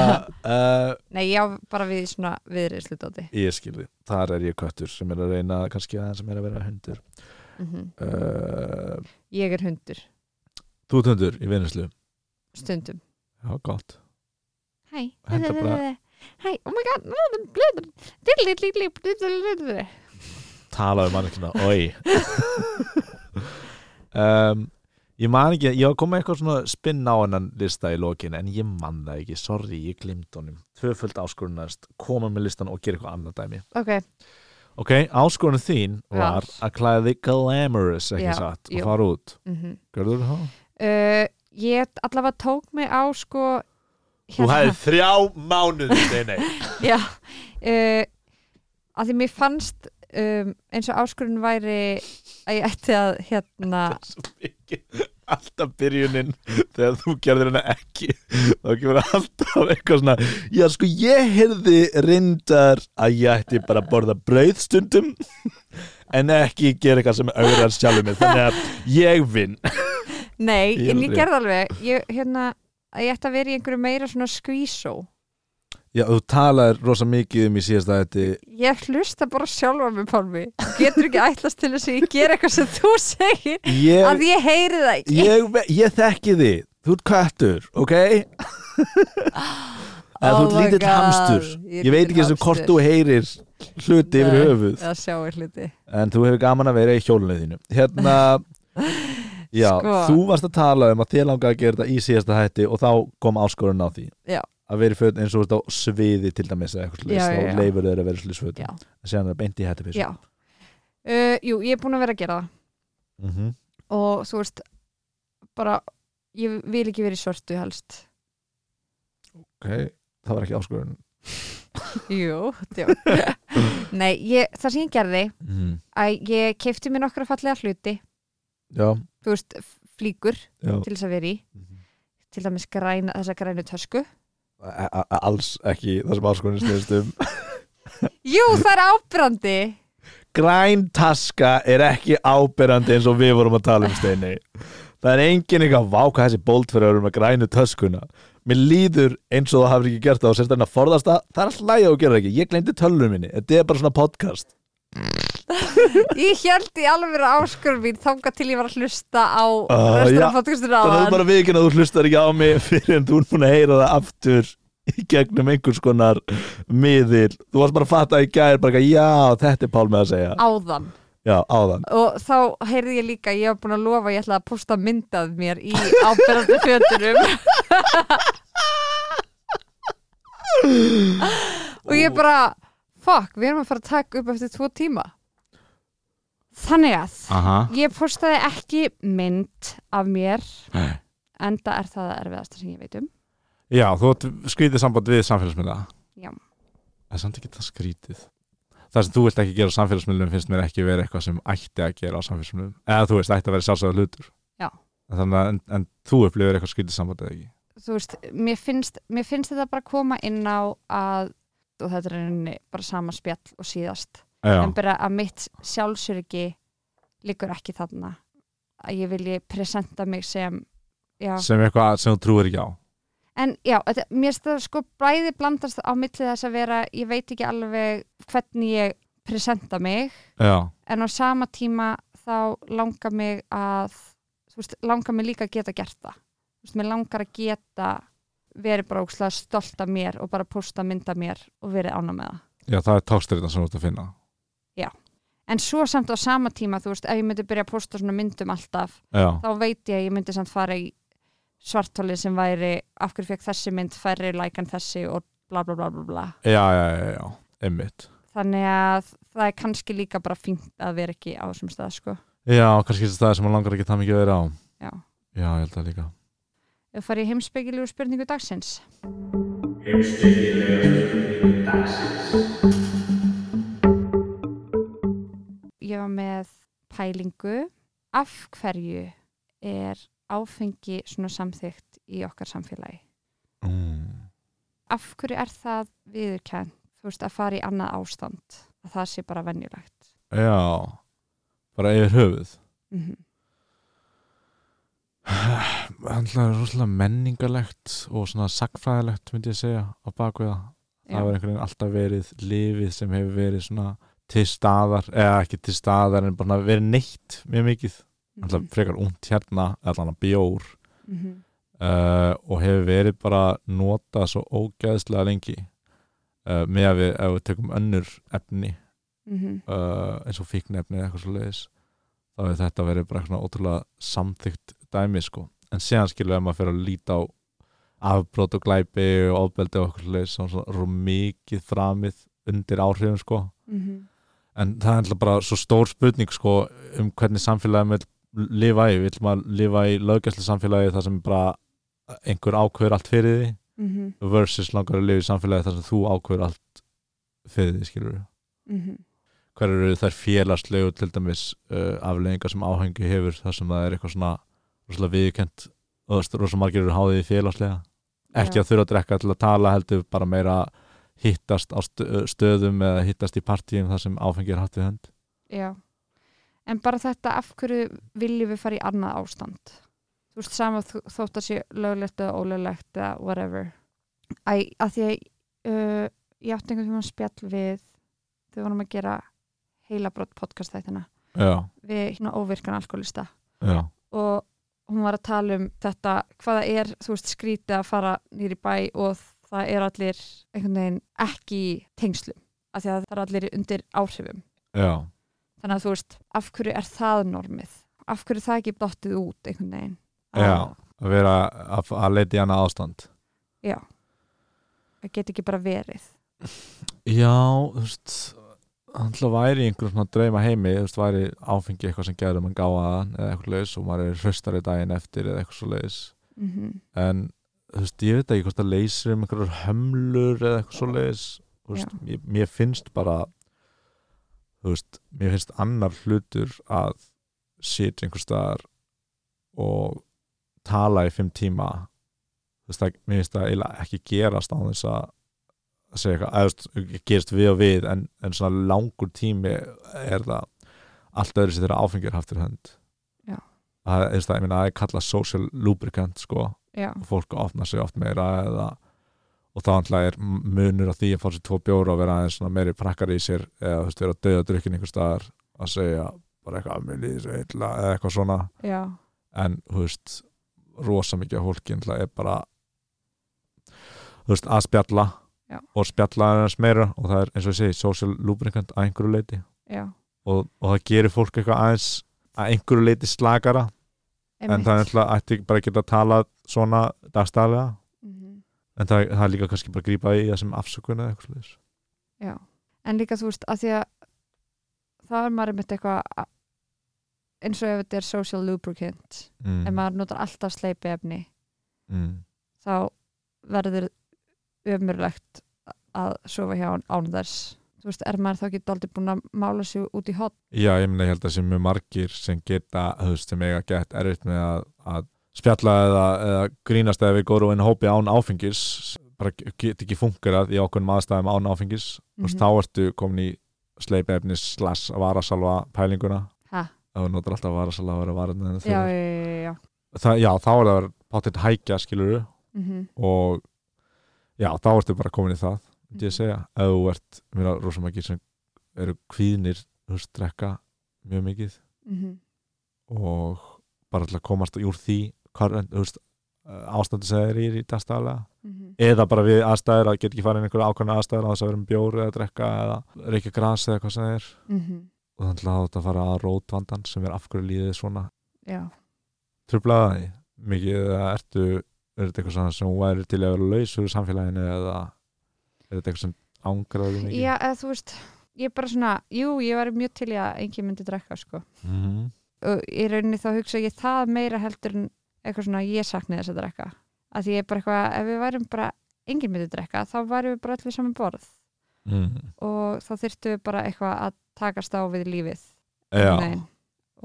A: uh,
B: Nei, já, bara við svona viðriðslu dóti.
A: ég skilði, þar er ég köttur sem er að reyna kannski aðeins sem er að vera hundur
B: Mm
A: uh,
B: Ég er hundur,
A: Þú ert hundur í vinnislu
B: stundum.
A: Já, gott
B: Hæ,
A: Henda bara-
B: hæ, oh my god, blablabla,
A: Talaðu manneskina, oi um, Ég man ekki, ég var komið eitthvað svona spinn á hennan lista í lokin en ég man það ekki, sorry, ég glimt honum Tvöföld áskorunast, koma með listan og gera eitthvað annað dæmi
B: Ok,
A: Ok, áskorun þín var
B: Já.
A: að klæða þig glamorous, ekki
B: Já,
A: satt,
B: jú.
A: og fara út
B: mhm.
A: Gerður það?
B: uh, ég allavega tók mig á sko
A: Þú hefði þrjá mánuð Nei, nei
B: já, uh, að því mér fannst um, eins og áskurinn væri að ég ætti að hérna
A: Svo mikið Alltaf byrjunin Þegar þú gerðir hana ekki Þá kemur alltaf eitthvað svona Já, sko, ég heyrði reyndar Að ég ætti bara að borða brauð stundum En ekki gera eitthvað sem augrar sjálfum mig Þannig að ég vinn
B: nei,
A: Ég
B: en ég
A: aldrei.
B: gerði alveg ég, hérna, að ég ætti að vera í einhverju meira svona skvísó
A: Já, þú talar rosa mikið um í síðasta þetta
B: ég hlusta bara sjálfa mig pálmi Þú getur ekki ætlast til þess að ég ger eitthvað sem þú segir
A: Ég,
B: að ég heyri það ekki
A: ég, ve- ég þekki þið Þú ert kvættur, ok? Eða þú
B: Oh
A: ert
B: my
A: lítill
B: God,
A: hamstur
B: ég er
A: Ég veit
B: lítill
A: ekki eins og hvort
B: hamstur.
A: þú heyrir hluti yfir
B: Nei,
A: höfuð
B: eða sjáir hluti
A: en þú hefur gaman að vera í hjólunni þínu hérna já,
B: Sko.
A: þú varst að tala um að þér langaði að gera þetta í síðasta hætti og þá kom áskorun á því
B: Já.
A: að vera í föt eins og þú veist á sviði til dæmis eða eitthvað
B: Já, já,
A: sliðis,
B: já.
A: þá leifur þeir að vera sliðis föt
B: já,
A: en séðan er beint í hætti písu
B: já. Uh, jú, ég er búin að vera að gera það
A: mm -hmm.
B: og þú veist bara, ég vil ekki vera í svörtu helst
A: það var ekki áskorun
B: Jú, djók Nei, ég, það sem ég gerði
A: mm.
B: að ég kefti mér nokkra fallega hluti
A: já,
B: þú veist, f- flíkur
A: já
B: til þess að vera í
A: Mhm.
B: til dæmis græna, þessa grænu tösku
A: A- a- a- alls ekki það sem áskorunin sliðist um
B: Jú, það er ábrandi
A: græn taska er ekki áberandi eins og við vorum að tala um steini það er engin eitthvað váka þessi bóltferður með grænu töskuna mér líður eins og það hafði ekki gert það og sérstæðan að forðast það, það er alltaf lægja og gera það ekki ég gleyndi tölunum minni, þetta er bara svona podcast
B: Ég held í alveg vera áskur mín þangað til ég var að hlusta á
A: Ah,
B: restur
A: já.
B: af podcastinu á
A: þannig að þú bara viðkynna að þú hlustar ekki á mig fyrir en þú er búin að heyra það aftur í gegnum einhvers konar miðil, þú varst bara að fatta í gær bara, eitthvað, já, þetta er Pál með að segja
B: áðan
A: já, áðan,
B: og þá heyrði ég líka, ég var búin að lofa að ég ætla að posta myndað mér í ábyrðandi fötunum og ég bara fuck, við erum að fara að taka upp eftir tvo tíma þannig að
A: aha
B: ég postaði ekki mynd af mér
A: Nei.
B: enda er það erfiðast sem ég veit um
A: já, þú átt skrítið samband við samfélagsmiðla
B: Já.
A: það er samt ekki það skrítið það sem þú vilt ekki gera á samfélagsmiðlum finnst mér ekki vera eitthvað sem ætti að gera á samfélagsmiðlum eða þú veist, ætti að vera sjálfsögða hlutur
B: Já.
A: En þannig að, en, en þú upplifir eitthvað skrítið samband eða ekki
B: þú veist, mér finnst, mér finnst þetta bara koma inn á að og þetta er henni bara sama spjall og síðast
A: já,
B: en bara að mitt sjálfsöryggi liggur ekki þarna að ég vilji presenta mig sem já,
A: sem eitthvað sem þú trúir ekki á
B: en já, þetta, mér finnst það sko bæði blandast á milli þess að vera ég veit ekki alveg hvernig ég presenta mig
A: já,
B: en á sama tíma þá langar mig að þú veist, langar mig líka að geta gert það þú veist, mér langar að geta verið bara ókslega stolt af mér og bara posta mynda mér og verið ána með það
A: já, það er tókstyrna sem þú ert að finna
B: en svo samt á sama tíma, þú veist, ef ég myndi byrja að posta svona myndum alltaf,
A: já,
B: þá veit ég að ég myndi samt fara í svartólið sem væri af hverju fekk þessi mynd færri lækan þessi og bla bla bla bla bla
A: já, já, já, já, einmitt
B: þannig að það er kannski líka bara fínt að vera ekki á þessum stað sko,
A: já, kannski þessi staði sem maður langar ekki það mikið að vera á
B: já
A: já, ég held að líka
B: Ef farið heimspekilegu spurningu dagsins ég var með pælingu af hverju er áfengi svona samþygt í okkar samfélagi
A: mm.
B: af hverju er það viðurkenn þú veist að fara í annað ástand að það sé bara venjulegt
A: já, bara yfir höfuð
B: mm
A: Þannig er rosalega menningalegt og svona sagfræðilegt myndi ég segja á bakvið það. Það hefur einhvern veginn alltaf verið lifið sem hefur verið svona til staðar, eða ekki til staðar en bara verið neitt mjög mikið. Alltaf frekar ungt hérna, allan að bjór
B: Mhm.
A: uh, og hefur verið bara notað svo ógæðslega lengi uh, með að við, ef við tökum önnur efni
B: Mhm.
A: uh, eins og fíknefni eða eitthvað svo leiðis þá hefur þetta verið bara svona ótrúlega samþygt dæmi sko en síðan skilur við að maður fyrir að líta á afbrot og glæpi og ofbeldi og eitthvað svo leiðis svona, svona rú mikið framið undir áhrifum sko
B: Mhm.
A: en það er alltaf bara svo stór spurning sko um hvernig samfélagið vil lifa í, vil maður lifa í löggæslu samfélagi þar sem bara einhver ákveður allt fyrir því
B: Mhm.
A: versus langar að lifa í samfélagi þar sem þú ákveður allt fyrir því skilur við
B: Mhm.
A: hver eru þær félagslegu til dæmis uh, afleggingar sem áhengi hefur þar sem það er eitthvað svona rosalega viðkjönt og þú veist, rosalega margir eru háðið í félagslega ekki að þurfa að drekka til að tala heldur bara meira hittast á stö- stöðum eða hittast í partíum þar sem áfengi er hatt við hönd
B: Já, en bara þetta af hverju viljum við fara í annað ástand? Þú veist, sama þó- þótt að sé löglegt eða ólöglegt eða whatever. Æ, að því að uh, ég átti einhvern veginn spjall við þau vorum að gera heilabrott podcast þættina
A: já,
B: við hérna óvirkan alkoholista
A: já,
B: og hún var að tala um þetta hvaða er, þú veist, skrítið að fara nýri bæ og það er allir einhvern veginn ekki í tengslum af því að það er allir undir áhrifum
A: já
B: þannig að þú veist, af hverju er það normið af hverju er það ekki blottið út einhvern veginn að,
A: Já. að vera að, að leita í annað ástand
B: að geta ekki bara verið
A: já, þú veist alltaf væri í einhverjum svona drauma heimi þú veist, væri áfengi eitthvað sem um gerður mann gáðaðan eða eitthvað leis og maður er hraustari daginn eftir eða eitthvað svo leis
B: mm
A: en þú veist, ég veit ekki hvort það leysir um einhverjar hömlur eða eitthvað svoleiðis þú veist, mér, mér finnst bara þú veist, mér finnst annar hlutur að sitja einhver staðar og tala í fimm tíma þú veist, það, mér finnst það eiginlega ekki gerast á þess að að segja eitthvað, eða þú veist, gerist við og við en, en svona langur tími er það allt öðru sem þeirra áfengjur haftir hönd
B: Já.
A: það, þú veist, það, ég meina, það er kallað social lubricant, sko
B: já,
A: og fólk opna sig oft meira eða, og þá alltaf er munur á því að fá sér tvo bjóra og vera aðeins svona meiri prakkar í sér eða þú veist vera að döða drukkin einhver staðar að segja bara eitthvað að mér líði svo illa eða eitthvað svona
B: já,
A: en þú veist rosa mikið af fólki alltaf er bara þú veist, að spjalla
B: Já.
A: og spjalla aðeins meira og það er eins og ég segi social lubricant að einhverju leiti
B: já,
A: og, og það gerir fólk eitthvað aðeins að einhverju leiti slagara en
B: einmitt
A: það er alltaf ætti bara að geta talað svona dagstælega
B: Mhm.
A: en það, það er líka kannski bara að grípa í það sem afsökun eða eitthvað sliðis
B: en líka þú veist að því að það er maður einmitt eitthvað að- eins og ef þetta er social lubricant ef
A: mm.
B: maður notar alltaf sleipi efni
A: mm.
B: þá verður ömurlegt að sofa hjá hann án þess þú veist, er maður þá ekki aldrei búin að mála sig út í hot
A: Já, ég meina, ég held að sem mjög margir sem geta, þú veist, sem eiga gett erfitt með að, að spjalla eða, eða grínast eða við góru inn hópi án áfengis bara get ekki fungerað í okkur maðurstæðum án áfengis þú
B: Mhm.
A: veist, þá ertu komin í sleipefnis slass varasalva pælinguna
B: ha,
A: ef þú notar alltaf varasalva að vera varðin
B: já, já, já, já.
A: það, já, þá er það verið pátitt hækja skiluru
B: Mm
A: og já, þá ertu bara komin í það myndi ég segja, ef þú ert mér að rosa margir sem eru kvíðnir þú veist, drekka mjög mikið
B: Mhm,
A: og bara til að komast úr því hvað, þú veist, eh, ástandi sem þeir eru í dagstæðlega
B: mhm,
A: eða bara við aðstæður að geta ekki farið inn í einhverja ákvæmna aðstæður á þess að vera um bjór eða drekka eða reykja gras eða hvað sem það er
B: mhm,
A: og þannig að þetta fara að rótvandan sem er af hverju líðið svona
B: já,
A: trublaða því mikið eða ertu er þetta eitthvað svona sem hún væri til að vera laus úr samfélaginu eða er þetta eitthvað sem ángraði mikið
B: já eða, þú veist ég bara svona, jú, ég var mjög til í að engin myndi drekka, sko
A: Mhm.
B: og í rauninni þá hugsa ég það meira heldur en eitthvað svona ég saknaði þess að drekka að því ég er bara eitthvað, ef við værum bara enginn myndi drekka, þá værum við bara allir saman borð
A: Mhm.
B: og þá þyrftum við bara eitthvað að takast á við lífið
A: já,
B: einhvern veginn.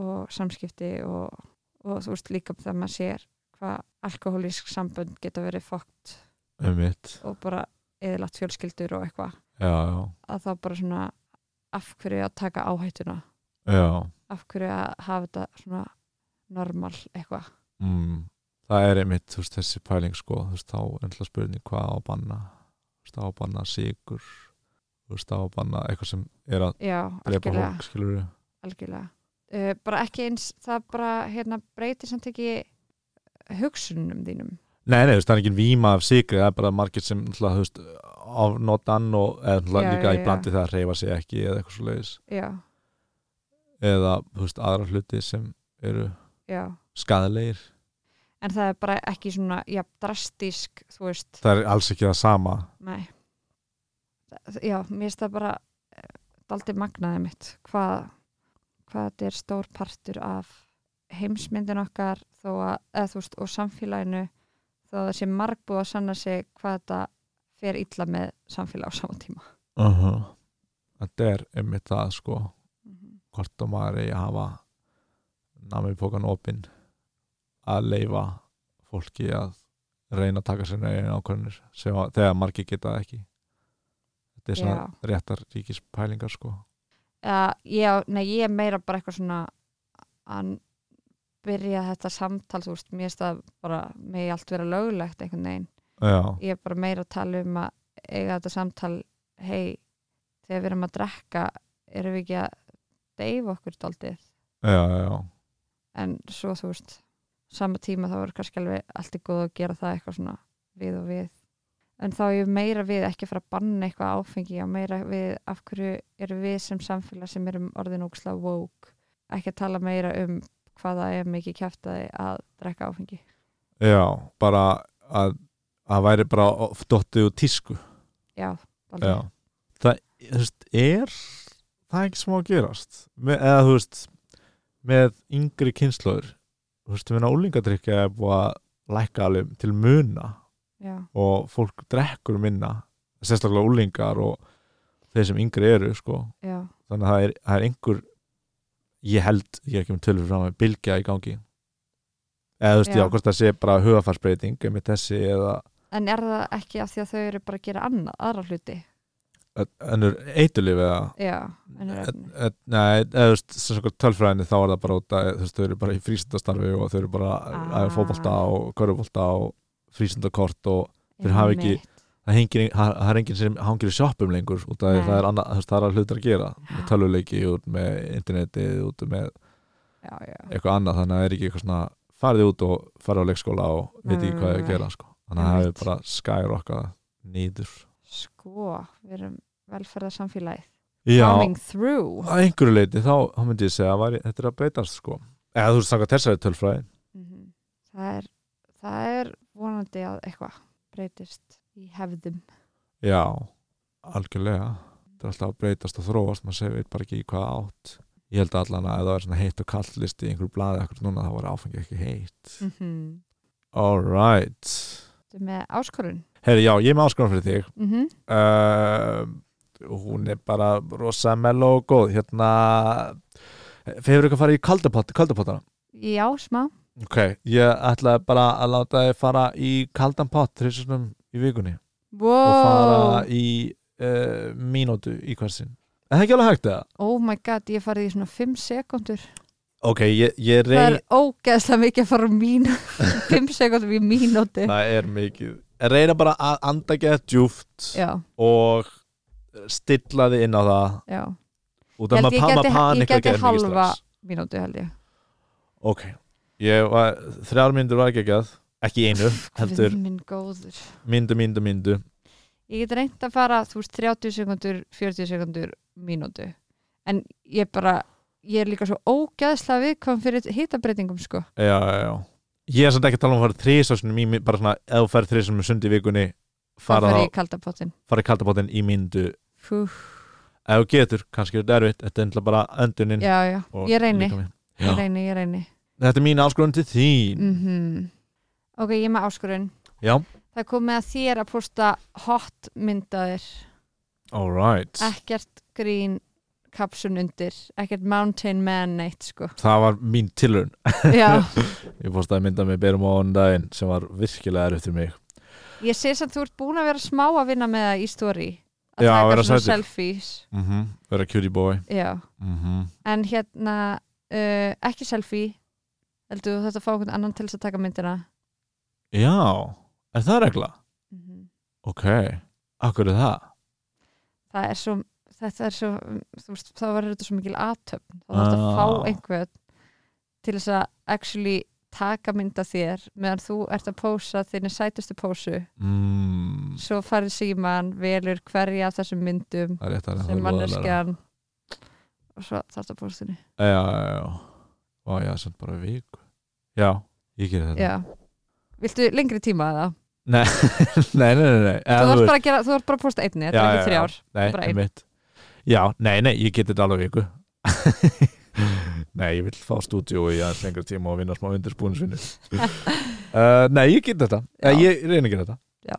B: og samskipti og, og þú veist líka það maður sér hvað alkohólísk sambönd geta verið fókt
A: um mitt
B: og bara eðlagt fjölskyldur og eitthvað
A: já, já,
B: að þá bara svona af hverju að taka áhættuna
A: já
B: af hverju að hafa þetta svona normal eitthvað
A: mm, það er einmitt þú veist, þessi pæling sko þú veist, þá er ennlega spurning hvað á að banna þú veist, á að banna sigur þú veist, á að banna eitthvað sem er að
B: já,
A: drepa
B: algjörlega
A: fólk skilur
B: algjörlega uh, bara ekki eins, það bara hérna, breytir samt ekki hugsunum þínum
A: Nei, nei, þú veist, það er ekki víma af sigri, það er bara margir sem ennlega, þú veist, afnotan og ennlega
B: Já,
A: líka
B: já,
A: í
B: já.
A: blandi það að reyfa sig ekki eða eitthvað svo leiðis
B: já,
A: eða, þú veist, aðra hluti sem eru
B: já
A: skadalegir
B: en það er bara ekki svona já, drastísk, þú veist
A: það er alls ekki það sama
B: nei Það- já, mér finnst það bara eh, daldi magnaði mitt hvað, hvað þetta er stór partur af heimsmyndin okkar þó að, eða þú veist, og samfélaginu þó að það sé margbúið að sanna sig hvað þetta fer illa með samfélag á sama tíma
A: uh þetta er einmitt það sko hvort að maður eigi að hafa namipókan opinn að leifa fólki að reyna að taka sér neginn ákvörnir þegar margir geta það ekki þetta er svona
B: Já.
A: réttar ríkispælingar sko
B: Já, ég, nei, ég er meira bara eitthvað svona að byrja þetta samtal, þú veist, mér finnst það bara megi allt vera löglegt einhvern veginn.
A: já,
B: Ég er bara meira að tala um að eiga þetta samtal, hei, þegar við erum að drekka, erum við ekki að deyfa okkur daldið.
A: já, já,
B: En svo, þú veist, sama tíma þá er kannski alveg allt í góð að gera það eitthvað svona við og við. En þá er ég meira við ekki að fara að banna eitthvað áfengi og meira við af hverju erum við sem samfélag sem erum orðin óksla woke ekki að tala meira um hvað það er mikið kjæftaði að drekka áfengi.
A: já bara að að væri bara of- dottið úr tísku
B: Já,
A: já.
B: alveg.
A: það þú veist, er það er ekki smá að gerast með, eða þú veist með yngri kynslóður þú veist, minna úlingadrykja er búið að lækka alveg til muna
B: Já,
A: og fólk drekkur minna sérstaklega úlingar og þeir sem yngri eru sko.
B: já,
A: þannig að það er, það er einhver ég held, ég er ekki með tölur fram að bylgja í gangi eða þú veist,
B: Já.
A: já, hvort það sé bara hugafarsbreyting með þessi eða
B: En er það ekki af því að þau eru bara að gera annað, aðra hluti?
A: önnur eitulif eða
B: Já, en er efni.
A: Eh, eh, Nei, eða þú veist, sem svona tölfræðinni þá er það bara út að þú veist, þau eru bara í frísundastarfi og þau eru bara
B: Ah.
A: að fótbolta og körfubolta og frísundakort og þeir hafa ekki-
B: Einmitt.
A: það, hengir, það, það er enginn sem hangir í sjoppum lengur út að
B: Nei.
A: það er annað, þú veist, það er að hluta að gera með tölvuleiki út með internetið út með
B: Já, já.
A: eitthvað annað þannig að það er ekki eitthvað svona farið út og farið á leikskóla og veit ekki hvað það er að
B: Nei.
A: gera sko. þannig að það
B: Einmitt.
A: er bara skærokkað nýður
B: sko, við erum velferðarsamfélagið
A: já,
B: coming through
A: að einhverju leiti þá, þá myndi ég segja að væri, þetta er að breytast sko eða þú veist þangað þessari tölfræði
B: Mhm. það er það er vonandi að eitthvað breytist í hefðum
A: já, algjörlega þetta er alltaf að breytast og þróast maður segir veit bara ekki í hvað átt ég held allan að ef það er svona heitt og kall listi í einhverju blaði akkur núna þá var áfengi ekki heitt
B: mm -hmm.
A: alright
B: með áskorun
A: herri já, ég er með áskonum fyrir þig
B: mm
A: uh, hún er bara rosa mello og góð hérna hefur ykkur farið í kaldapott, kaldapottana
B: já, smá
A: ok, ég ætlaði bara að láta þið fara í kaldan pott þrjustunum í vikunni og fara
B: wow.
A: í uh, mínútu í hversin en það er ekki alveg hægt það
B: oh my god, ég hef farið í svona 5 sekundur
A: ok, ég, ég rey
B: það er ógeðslega mikið að fara úr mínu 5 sekundum í mínúti
A: það er mikið reyna bara að anda gett djúft
B: já,
A: og stilla þið inn á það
B: já,
A: út af
B: Held ég
A: maður
B: geti-
A: maður
B: ég
A: panikar
B: geti
A: gerir mikið
B: halva-
A: strax
B: mínúti held ég
A: Ok, ég var, þrjár myndur var ekki ekki að ekki í einu, heldur
B: Guð minn góður
A: myndu, myndu, myndu
B: ég get reynd að fara, þú veist, 30 sekundur 40 sekundur mínútu en ég bara, ég er líka svo ógæðslega viðkvæm fyrir hitabreitingum sko,
A: Já, já, já Ég er samt ekki að tala um að fara þrísvarsunum í mi- bara svona, ef þú ferð þrísvarsunum sundi í vikunni
B: það
A: fara
B: fer ég
A: þá,
B: í kaldapottin
A: fara í kaldabótin í myndu
B: Fú,
A: ef þú getur, kannski er þetta erfitt þetta er endla bara öndunin
B: já, já,
A: og
B: ég reyni.
A: líkaminn.
B: ég
A: Já.
B: reyni, ég reyni
A: Þetta er mín áskorun til þín
B: mm ok, ég er með áskurinn
A: Já,
B: það er komið að þér að posta hot myndaðir
A: alright
B: ekkert grín kapsun undir, ekkert mountain man neitt sko,
A: Það var mín tilraun
B: já
A: Ég fórst að mynda mig berum á daginn sem var virkilega erfitt fyrir mig
B: ég sé sem þú ert búin að vera smá að vinna með það í story að
A: Já,
B: taka
A: vera
B: svona
A: sætur.
B: selfies
A: mm Vera cutie boy
B: já
A: mm
B: en hérna uh, ekki selfie heldur þú þetta að fá einhvern annan til þess að taka myndina
A: Já, er það regla? Ok, akkur er það?
B: það er svo þetta er svo, þú veist, þá verður þetta svo mikil aðtöfn þá þarf að
A: Ah.
B: fá einhvern til þess að actually taka mynda þér meðan þú ert að pósa þinni sætustu pósu
A: Mm,
B: svo farið síman, velur hverja af þessum myndum
A: það er rétt
B: sem
A: að það er voðalega.
B: manneskjan og svo þarf að pósa þinni
A: Já, já, já. Ó, já, sem bara viku. Já, ég gerir þetta.
B: já Viltu lengri tíma eða?
A: nei, nei, nei, nei.
B: Þú
A: Eða,
B: þarf
A: veist-
B: bara að gera, þú þarf bara að posta einni, þetta
A: Já,
B: er
A: já,
B: ekki
A: já.
B: þrjár.
A: Nei,
B: bara
A: bara
B: einn.
A: einmitt. Já, nei, nei, ég geti þetta alveg viku. nei, ég vil fá stúdíu í aðeins lengur tíma og vinna smá undirsbúinsvinnu. uh, nei, ég geti þetta.
B: Já.
A: Já. Ég reyna að gera þetta.
B: Já.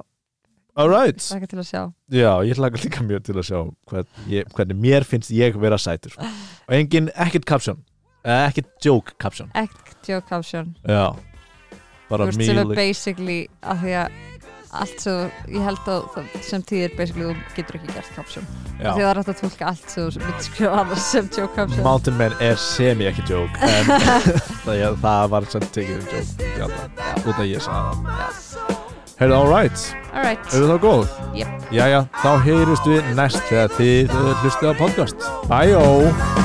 A: All right.
B: Það er ekki til að sjá.
A: Já, ég hlaka líka mjög til að sjá hvern, ég, hvernig mér finnst ég vera sætur sko. og engin, ekkert kapsjón ekkert joke kapsjón
B: Act your caption.
A: Já,
B: Þú
A: bara
B: veist sem er
A: mjög
B: basically að því að allt sem, þú- ég held að það sem tíð er basically þú getur ekki gert caption. Af Því að
A: já.
B: það er hægt að tólka allt sem þú myndir skrifa annars sem joke caption.
A: Mountain Man er semi ekki joke en það, ég, það var sem tekið um joke já, það, út að ég sagði það Heyrðu, all right,
B: Alright,
A: eru það góð?
B: Yep.
A: eh, Jæja, þá heyrist við næst þegar þið uh, hlustið á podcast Bye-o